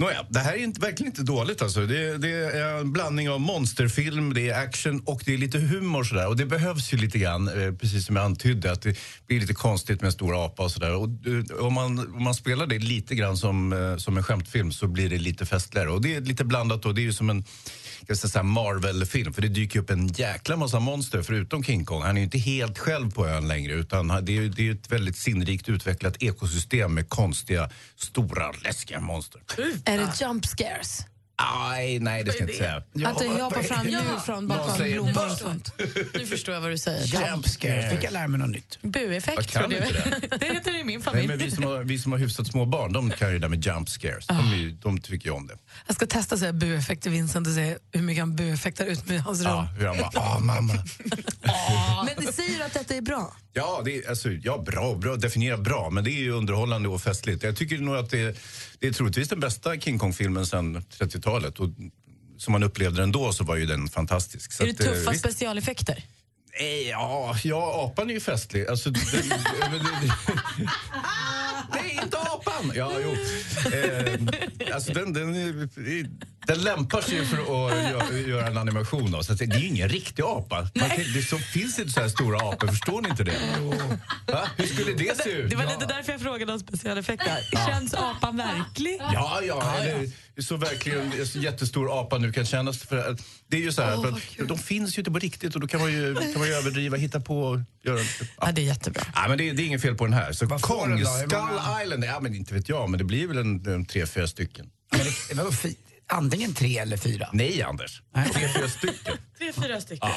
Speaker 16: Nåja, det här är inte, verkligen inte dåligt. Alltså. Det, det är en blandning av monsterfilm, det är action och det är lite humor. Sådär. Och det behövs ju lite grann, eh, precis som jag antydde, att det blir lite konstigt med en stor apa och sådär. Och, eh, om, man, om man spelar det lite grann som, eh, som en skämtfilm så blir det lite festligare. Och det är lite blandat då. Det är ju som en jag ska säga, Marvel-film, för det dyker upp en jäkla massa monster förutom King Kong. Han är ju inte helt själv på ön längre utan han- det är ju det är ju ett väldigt sinnrikt utvecklat ekosystem med konstiga, stora, läskiga monster.
Speaker 3: Är det jump scares?
Speaker 16: Aj, nej, det ska jag inte säga.
Speaker 3: att jag hoppar fram nu
Speaker 5: Ja.
Speaker 3: från
Speaker 16: Någon
Speaker 3: bakom
Speaker 16: säger
Speaker 3: blommor och
Speaker 16: bust.
Speaker 3: sånt.
Speaker 5: Nu förstår jag vad du säger.
Speaker 4: Jump scare. Fick jag lära mig något nytt?
Speaker 16: Jag
Speaker 5: Bueffekt
Speaker 16: kan
Speaker 5: tror du.
Speaker 16: inte
Speaker 5: Det. heter det i min
Speaker 16: Nej,
Speaker 5: familj.
Speaker 16: men vi, som har, vi som har hyfsat små barn, de kan ju det där med jump scares. De, är ju, de tycker ju om det.
Speaker 5: Alltså,
Speaker 3: Jag ska testa att säga bueffekt till Vincent och se hur mycket han bueffektar ut med hans rum.
Speaker 16: Ja, hur han bara, ah, mamma.
Speaker 3: Men ni säger att detta är bra.
Speaker 16: Ja, det är, alltså, ja bra, bra, definiera bra, men det är ju underhållande och festligt. Jag tycker nog att det, det är troligtvis den bästa King Kong-filmen sedan 30-talet. Och som man upplevde den då så var ju den fantastisk. Så
Speaker 5: Är det
Speaker 16: att, eh,
Speaker 5: tuffa
Speaker 16: visst.
Speaker 5: specialeffekter?
Speaker 16: Nej, ja, ja, apan är ju festlig. Alltså, den, men det, nej, inte apan! Ja, jo. Eh, alltså, den, den, är- den lämpar sig för att gö- göra en animation av. Så att det är ju ingen riktig apa. Man kan, det så, finns inte så här stora apor, förstår ni inte det? Va? Hur skulle det se ut?
Speaker 5: Det var
Speaker 16: Ja.
Speaker 5: lite därför jag frågade om specialeffekter.
Speaker 16: Ja.
Speaker 5: Känns apan verklig?
Speaker 16: Ja, ja. Eller, så verkligen en så jättestor apa nu kan kännas. För, att- det är ju så här,
Speaker 5: Åh,
Speaker 16: för
Speaker 5: vad
Speaker 16: att, de finns ju inte på riktigt och då kan man ju, kan man ju överdriva, hitta på och göra... Ja.
Speaker 5: det är jättebra.
Speaker 16: Ja, men det, är- det är inget fel på den här. Så
Speaker 4: får den
Speaker 16: Kong,
Speaker 4: då? Hur
Speaker 16: Skull
Speaker 4: många-
Speaker 16: Island, ja men inte vet jag, men det blir väl en, en tre, fyra stycken.
Speaker 4: Men det, det var fi, antingen tre eller fyra.
Speaker 16: Nej, Anders. Tre, fyra stycken.
Speaker 5: Tre, fyra stycken.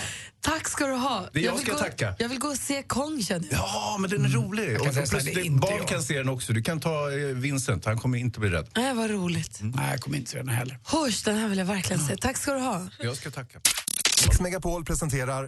Speaker 3: Tack ska du ha.
Speaker 16: Det är jag
Speaker 3: vill
Speaker 16: ska
Speaker 3: gå,
Speaker 16: tacka.
Speaker 3: Jag vill gå och se Kong känner jag.
Speaker 16: Ja, men den är rolig.
Speaker 4: kan
Speaker 16: Och
Speaker 4: säga så här,
Speaker 16: plus,
Speaker 4: det är
Speaker 16: det,
Speaker 4: inte
Speaker 16: barn
Speaker 4: jag.
Speaker 16: kan se den också. Du kan ta eh, Vincent, han kommer inte bli rädd.
Speaker 3: Nej, vad roligt.
Speaker 4: Nej, jag kommer inte se den heller.
Speaker 3: Hush, den här vill jag verkligen se. Tack ska du ha.
Speaker 16: Jag ska tacka.
Speaker 10: Mix Megapol presenterar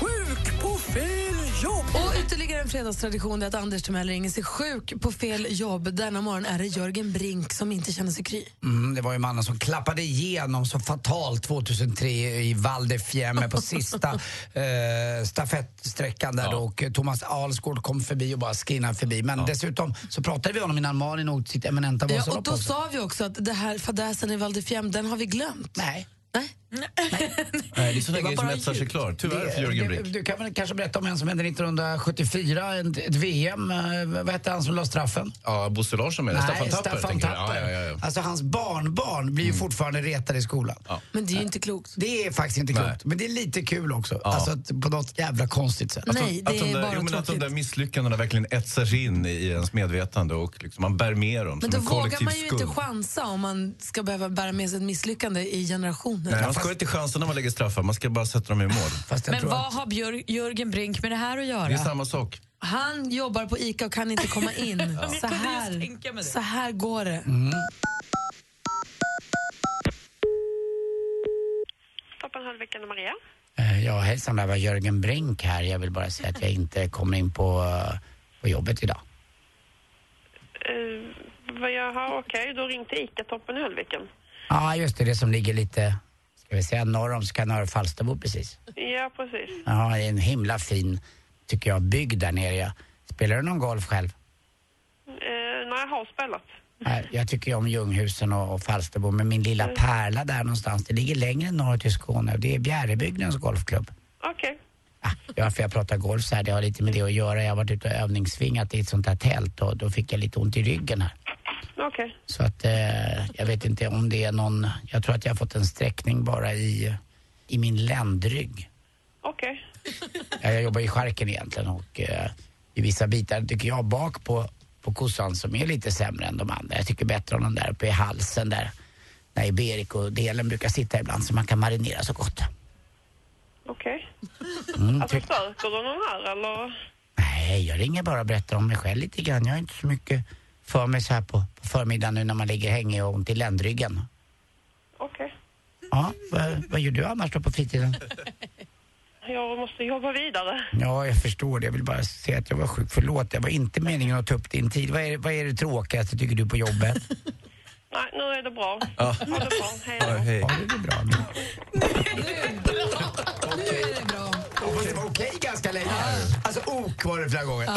Speaker 3: Sjuk på fel jobb! Och ytterligare en fredagstradition är att Anders Timell ringer sig sjuk på fel jobb. Denna morgon är det Jörgen Brink som inte känner sig kry.
Speaker 4: Mm, det var ju mannen som klappade igenom så fatalt 2003 i Val de Fiemme på sista eh, stafettsträckan där då. och Thomas Alsgaard kom förbi och bara skinnade förbi. Men dessutom så pratade vi om honom innan Malin åkte sitt eminenta
Speaker 3: Ja, och
Speaker 4: Vasalopp
Speaker 3: då
Speaker 4: också.
Speaker 3: sa vi också att det här fadäsen i Val di Fiemme, den har vi glömt.
Speaker 4: Nej.
Speaker 3: Nej.
Speaker 4: Eh, Det
Speaker 16: en sån där
Speaker 4: Det var
Speaker 16: grej som
Speaker 4: bara
Speaker 16: etsar sig
Speaker 4: ljud.
Speaker 16: klar, tyvärr,
Speaker 4: Det-
Speaker 16: för Jörgen
Speaker 4: det-
Speaker 16: Brick.
Speaker 4: Du kan väl kanske berätta om en som hände 1974, ett, ett VM. eh, Vad hette han som la straffen?
Speaker 16: Ja, Bosse Larsson menar
Speaker 4: Nej,
Speaker 16: jag. Staffan Tapper.
Speaker 4: Staffan
Speaker 16: tänker jag.
Speaker 4: Tapper.
Speaker 16: Ja, ja, ja, Mm. ja.
Speaker 4: Alltså hans barnbarn blir ju fortfarande retade i skolan.
Speaker 3: Men det är ju inte klokt.
Speaker 4: Det är faktiskt inte
Speaker 16: Nej.
Speaker 4: klokt. Men det är lite kul också. Alltså att på något jävla konstigt sätt.
Speaker 16: Att de- Alltså, att de där, jo, men Att de där misslyckandena verkligen etsar sig in i ens medvetande och liksom man bär med dem
Speaker 3: Men
Speaker 16: som
Speaker 3: då
Speaker 16: en
Speaker 3: vågar
Speaker 16: kollektiv
Speaker 3: man ju
Speaker 16: skuld.
Speaker 3: inte chansa om man ska behöva bära med sig ett misslyckande i generationer.
Speaker 16: Nej, man ska inte chansa när man lägger straffar, man ska bara sätta dem i mål.
Speaker 5: Men vad har Björ- Jörgen Brink med det här att göra?
Speaker 16: Det är samma sak.
Speaker 3: Han jobbar på ICA och kan inte komma in.
Speaker 5: Ja.
Speaker 3: så,
Speaker 5: Jag kunde just tänka mig
Speaker 3: här,
Speaker 5: det.
Speaker 3: så här går det.
Speaker 4: Mm.
Speaker 17: Toppen halvveckan och Maria.
Speaker 4: Eh, Ja, hejsan, det här var Jörgen Brink här. Jag vill bara säga att jag inte kommer in på, eh, på jobbet idag.
Speaker 17: Uh, jaha, okej. Då ringde ICA-toppen i halvveckan.
Speaker 4: Ja, just det, det som ligger lite, ska vi säga norr om Skanör Falsterbo precis.
Speaker 17: Ja, precis.
Speaker 4: Ja, det är en himla fin, tycker jag, bygd där nere. Jag- Spelar du någon golf själv?
Speaker 17: Uh, nej, jag har spelat.
Speaker 4: Nej, Jag tycker ju om Ljunghusen och, och Falsterbo, men min lilla pärla där någonstans, det ligger längre norrut i Skåne och det är Bjärebygdens golfklubb.
Speaker 17: Okej.
Speaker 4: Ja, för jag pratar golf så här, det har lite med det att göra. Jag har varit ute och övningssvingat i ett sånt här tält och då fick jag lite ont i ryggen här.
Speaker 17: Okej.
Speaker 4: Så att eh, jag vet inte om det är någon, jag tror att jag har fått en sträckning bara i, i min ländrygg.
Speaker 17: Okej.
Speaker 4: Ja, jag jobbar i skärken egentligen och eh, i vissa bitar tycker jag bak på, på kossan som är lite sämre än de andra. Jag tycker bättre om den där uppe i halsen där, där Iberico-delen brukar sitta ibland så man kan marinera så gott.
Speaker 17: Okej.
Speaker 4: Mm,
Speaker 17: Alltså,
Speaker 4: ty-
Speaker 17: söker du någon här eller?
Speaker 4: Nej, jag ringer bara och berättar om mig själv lite grann. Jag har inte så mycket för mig så här på, på förmiddagen nu när man ligger hängig och ont i ländryggen.
Speaker 17: Okej.
Speaker 4: Ja, vad, vad gör du annars då på fritiden?
Speaker 17: Jag måste jobba vidare.
Speaker 4: Ja, jag förstår det. Jag vill bara säga att jag var sjuk. Förlåt, det var inte meningen att ta upp din tid. Vad är, vad är det tråkigaste tycker du på jobbet?
Speaker 17: Nej, nu är det bra.
Speaker 4: Ja.
Speaker 17: Ha det bra. Hej då.
Speaker 4: Ja, det är bra.
Speaker 3: Nu är det bra.
Speaker 4: Fast det var okej ganska länge. Alltså ok var det flera gånger.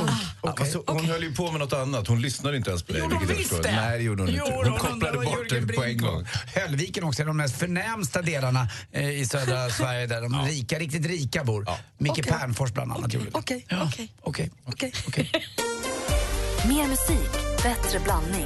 Speaker 4: Ok.
Speaker 16: Alltså, hon höll ju på med något annat, hon lyssnade inte ens på dig.
Speaker 4: Gjorde hon
Speaker 16: vilket jag
Speaker 4: visst
Speaker 16: förstår.
Speaker 4: det?
Speaker 16: Nej, det gjorde hon inte.
Speaker 4: Jo,
Speaker 16: Hon kopplade
Speaker 4: undrar vad
Speaker 16: bort
Speaker 4: Jörgen
Speaker 16: det på en
Speaker 4: Brink
Speaker 16: gång.
Speaker 4: var. Höllviken också är de mest förnämsta delarna eh, i södra Sverige där de rika, riktigt rika bor. Micke Pernfors bland annat gjorde det.
Speaker 3: Okej,
Speaker 4: okej. Okej.
Speaker 1: Mer musik, bättre blandning.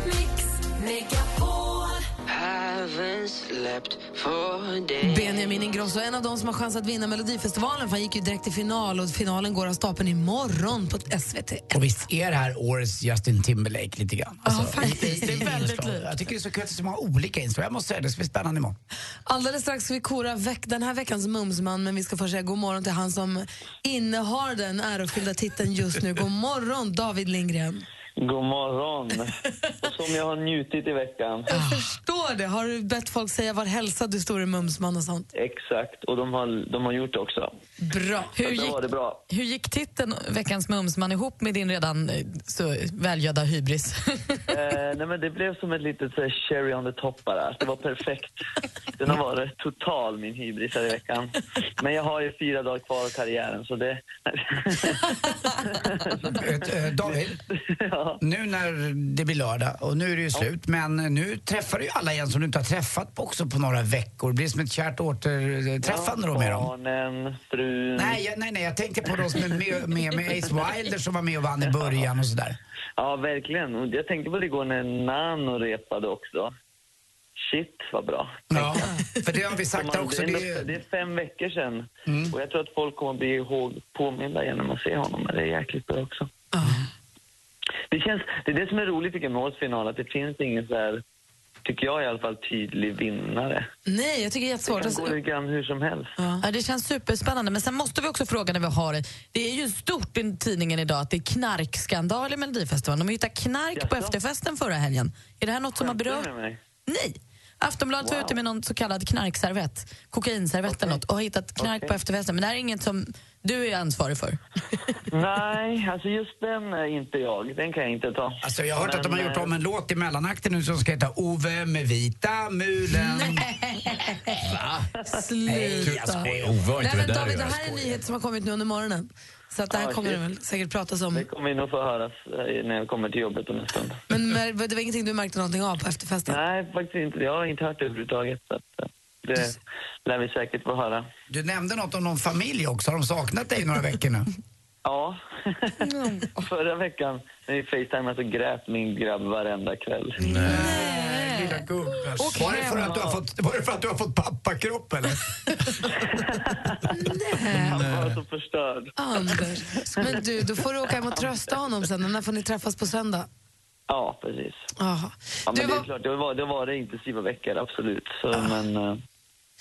Speaker 3: Benjamin Ingrosso, en av de som har chans att vinna Melodifestivalen för han gick ju direkt till final och finalen går av stapeln imorgon på SVT.
Speaker 4: Och visst är det här årets Justin Timberlake lite grann? Alltså,
Speaker 3: Ja, faktiskt.
Speaker 4: i- i-
Speaker 3: Det är väldigt
Speaker 4: inslag. Jag tycker det är så kul att det är så många olika inslag. Jag måste säga det, det ska bli spännande imorgon.
Speaker 3: Alldeles strax ska vi kora veck den här veckans mumsman men vi ska först säga god morgon till han som innehar den ärofyllda titeln just nu. God morgon David Lindgren.
Speaker 18: God morgon! Och som jag har njutit i veckan.
Speaker 3: Jag förstår det. Har du bett folk säga var hälsad du står i mumsman och sånt?
Speaker 18: Exakt, och de har, de har gjort det också.
Speaker 3: Bra.
Speaker 5: Hur
Speaker 18: Så
Speaker 5: gick,
Speaker 18: då var det bra.
Speaker 5: hur gick titeln Veckans Mumsman ihop med din redan eh, så välgödda hybris?
Speaker 18: Eh, nej men det blev som ett litet så här, cherry on the top bara. Det var perfekt. Den har varit total, min hybris här i veckan. Men jag har ju fyra dagar kvar av karriären, så det...
Speaker 4: Eh, David, nu när det blir lördag och nu är det ju slut men nu träffar du ju alla igen som du inte har träffat på också på några veckor. Det blir som ett kärt återträffande då med dem.
Speaker 18: Barnen, frun...
Speaker 4: Nej, jag, nej, nej, jag tänkte på de som är med, med, med Ace Wilder som var med och vann i början och sådär.
Speaker 18: Ja, verkligen. Och jag tänkte på det igår när Nano repade också. Shit, vad bra.
Speaker 4: Ja, för det har vi sagt
Speaker 18: Man-
Speaker 4: också.
Speaker 18: Det är,
Speaker 4: Det
Speaker 18: ändå- det är fem veckor sedan.
Speaker 4: Mm.
Speaker 18: Och jag tror att folk kommer bli ihåg påminda igen när man ser honom. Men det är jäkligt bra också. Det, känns, det är det som är roligt tycker jag, med årets final, att det finns ingen så här, tycker jag i alla fall, tydlig vinnare.
Speaker 3: Nej, jag tycker det är
Speaker 5: jättesvårt.
Speaker 18: Det kan gå
Speaker 5: Alltså,
Speaker 18: lite grann hur som helst.
Speaker 5: Ja, det känns superspännande. Men sen måste vi också fråga när vi har det. Det är ju stort i tidningen idag att det är knarkskandal i Melodifestivalen. De hittade knark på efterfesten förra helgen. Är det här något som har berört?
Speaker 18: Skämtar du med mig?
Speaker 5: Nej! Aftonbladet var ute med någon så kallad knarkservett, kokainservett eller något och har hittat knark
Speaker 18: Okej.
Speaker 5: på efterfesten. Men det här är inget som du är ansvarig för.
Speaker 18: Nej, alltså just den är inte jag. Den kan jag inte ta.
Speaker 4: Alltså jag har hört att de har
Speaker 18: eh,
Speaker 4: gjort om en låt i mellanakten nu som ska heta Ove med vita mulen.
Speaker 18: eh,
Speaker 3: Va?
Speaker 4: Nej, jag
Speaker 3: Sluta.
Speaker 4: skojar.
Speaker 16: Ove har
Speaker 3: Nej,
Speaker 16: inte med
Speaker 3: men
Speaker 16: det där
Speaker 3: David,
Speaker 16: att
Speaker 3: det
Speaker 16: göra.
Speaker 3: här är en nyhet som har kommit nu under morgonen. Så att det här
Speaker 18: Ah,
Speaker 3: kommer det
Speaker 18: shit.
Speaker 3: väl säkert pratas om.
Speaker 18: Det kommer vi nog få höra eh, när jag kommer till jobbet om en stund.
Speaker 3: Men mer- det var ingenting du märkte någonting av på efterfesten?
Speaker 18: Nej, faktiskt inte. Jag har inte hört det överhuvudtaget. Så att, eh, Det lär vi säkert få höra.
Speaker 4: Du nämnde något om någon familj också. Har de saknat dig i några veckor nu?
Speaker 18: Ja. Förra veckan när vi facetimade så grät min grabb varenda kväll.
Speaker 4: Nej, lilla gubbars. Var det för att du har fått, var det för att du har fått pappakropp eller?
Speaker 18: Han var
Speaker 4: Alltså,
Speaker 18: så förstörd.
Speaker 3: Anders. Men du, då får du åka hem och trösta honom sen. När får ni träffas på söndag?
Speaker 18: Ja, precis.
Speaker 3: Jaha.
Speaker 18: Ja, men det är klart, det var, det var det intensiva veckor, absolut. Så, Men eh,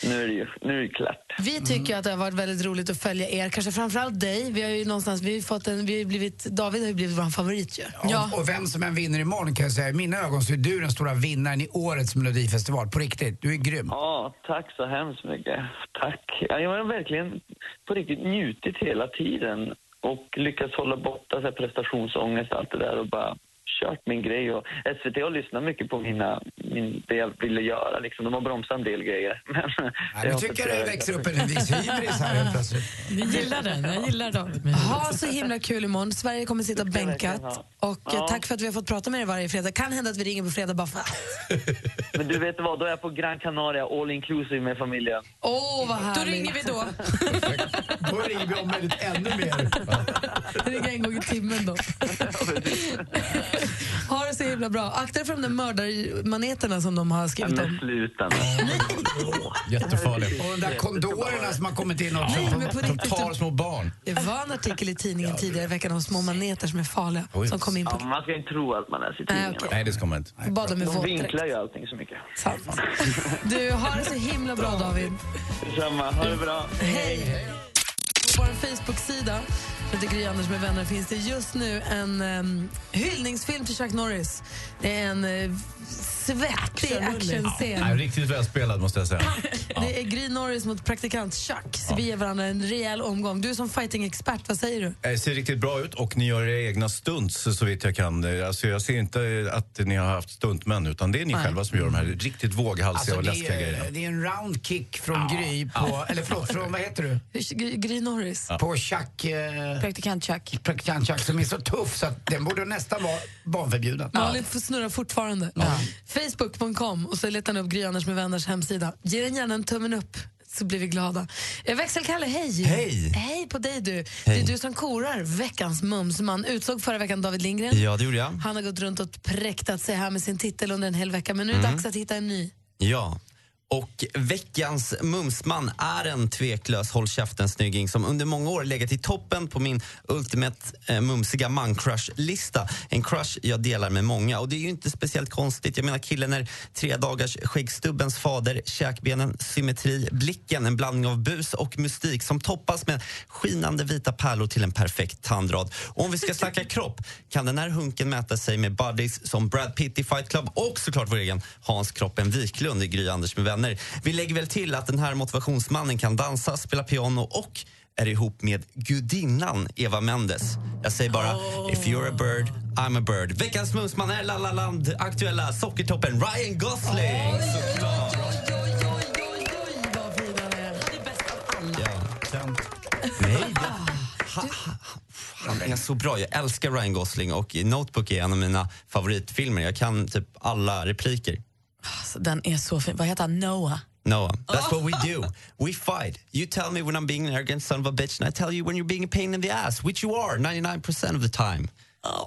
Speaker 18: nu är det ju nu är det klart.
Speaker 3: Vi tycker ju att det har varit väldigt roligt att följa er, kanske framförallt dig. Vi har ju någonstans, vi har ju fått en, vi har ju blivit, David har ju blivit vår favorit ju.
Speaker 4: Ja. Och vem som än vinner imorgon kan jag säga, i mina ögon så är du den stora vinnaren i årets melodifestival. På riktigt, du är grym.
Speaker 18: Ja, tack så hemskt mycket. Tack. Ja, Jag har verkligen på riktigt njutit hela tiden och lyckats hålla borta så här prestationsångest och allt det där och bara kört min grej. Och SVT har lyssnat mycket på mina, min, det jag ville göra. Liksom. De har bromsat en del grejer. Men det
Speaker 4: Nu
Speaker 18: har
Speaker 4: tycker
Speaker 18: fått
Speaker 4: jag det
Speaker 18: göra.
Speaker 4: växer upp en viss hybris här helt plötsligt.
Speaker 5: Vi gillar den. Jag gillar David.
Speaker 3: Ha så himla kul imorgon. Sverige kommer sitta
Speaker 18: verkligen
Speaker 3: bänkat.
Speaker 18: ha.
Speaker 3: Och eh,
Speaker 18: Ja.
Speaker 3: tack för att vi har fått prata med er varje fredag. Kan hända att vi ringer på fredag bara för att.
Speaker 18: Men du vet vad, då är jag på Gran Canaria all inclusive med familjen.
Speaker 3: Åh, vad härligt. Då ringer vi då.
Speaker 4: Då ringer vi om väldigt ännu mer.
Speaker 3: Ringa en gång i timmen då. ha det så himla bra. Akta dig för de där mördarmaneterna som de har skrivit om.
Speaker 18: Men sluta nu.
Speaker 16: Jättefarligt.
Speaker 4: Och de där kondorerna som har kommit in också.
Speaker 3: Nej, men på
Speaker 16: De
Speaker 3: riktigt.
Speaker 4: typ-
Speaker 16: tar små barn.
Speaker 3: Det var en artikel i tidningen tidigare i veckan om små maneter som är farliga
Speaker 16: Oj.
Speaker 3: som kom in
Speaker 18: Ja,
Speaker 3: på...
Speaker 18: men man ska inte tro att man läser
Speaker 3: Nej,
Speaker 18: tidningarna.
Speaker 3: okej.
Speaker 16: Nej, det ska man inte.
Speaker 3: Bada med
Speaker 18: De
Speaker 3: våtdräkt.
Speaker 18: vinklar ju allting så mycket.
Speaker 3: Sant. Du, har det så himla bra David.
Speaker 18: Detsamma, ha det bra.
Speaker 3: Hej! På vår Facebook-sida, som heter Gry Anders med vänner, finns det just nu en em, hyllningsfilm till Chuck Norris. Det är en eh, svettig
Speaker 16: Actionrulle.
Speaker 3: actionscen.
Speaker 16: Nej, riktigt välspelad måste jag säga.
Speaker 3: Det är Gry Norris mot praktikant Chuck, så vi ger varandra en rejäl omgång. Du som fighting-expert, vad säger du?
Speaker 16: Det Eh, ser riktigt bra ut och ni gör era egna stunts så vitt jag kan. Eh, Alltså jag ser inte att ni har haft stuntmän utan det är ni
Speaker 3: Nej.
Speaker 16: själva som gör de här riktigt våghalsiga
Speaker 4: Alltså,
Speaker 16: och
Speaker 4: det,
Speaker 16: läskiga grejerna.
Speaker 4: är, det är en round kick från Gry på, eller förlåt, från vad heter du?
Speaker 3: Gry, Gry Norris?
Speaker 4: På Chuck, eh,
Speaker 5: Praktikant Chuck.
Speaker 4: praktikant Chuck som är så tuff så att den borde nästan vara barnförbjuden.
Speaker 3: Malin får snurra fortfarande. Facebook.com och så letar ni upp Gry Anders med vänners hemsida. Ge den gärna en tummen upp så blir vi glada. Eh, Växelkalle, hej!
Speaker 19: Hej.
Speaker 3: Hej på dig du! Det
Speaker 19: Hej.
Speaker 3: är du som korar veckans mumsman. Utsåg förra veckan David Lindgren.
Speaker 19: Ja, det gjorde jag.
Speaker 3: Han har gått runt och präktat sig här med sin titel under en hel vecka men nu är det
Speaker 19: Mm.
Speaker 3: dags att hitta en ny.
Speaker 19: Ja. Och veckans mumsman är en tveklös håll käften-snygging som under många år legat i toppen på min ultimate eh, mumsiga man-crush-lista. En crush jag delar med många. Och det är ju inte speciellt konstigt. Jag menar killen är tre dagars skäggstubbens fader, käkbenen, symmetri, blicken, en blandning av bus och mystik som toppas med skinande vita pärlor till en perfekt tandrad. Och om vi ska snacka kropp kan den här hunken mäta sig med buddies som Brad Pitt i Fight Club och såklart vår egen Hans Kroppen Wiklund i Gry Anders med vänner. Vi lägger väl till att den här motivationsmannen kan dansa, spela piano och är ihop med gudinnan Eva Mendes. Jag säger bara if you're a bird, I'm a bird. Veckans mumsman är La La Land aktuella sockertoppen Ryan Gosling. såklart. Nej, han, han är så bra. Jag älskar Ryan Gosling och Notebook är en av mina favoritfilmer. Jag kan typ alla repliker.
Speaker 5: Alltså, den är så fin. Vad heter han? Noah?
Speaker 19: Noah, that's what we do. We fight. You tell me when I'm being an arrogant son of a bitch and I tell you when you're being a pain in the ass, which you are 99% of the time.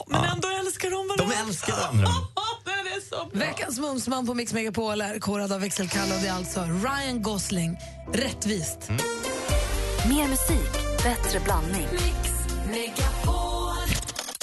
Speaker 5: Men ändå älskar de
Speaker 19: De älskar varandra.
Speaker 3: Veckans mumsman på Mix Megapol är korad av Växelkalle och det är alltså Ryan Gosling. Rättvist.
Speaker 1: Mm. Mer musik, bättre blandning.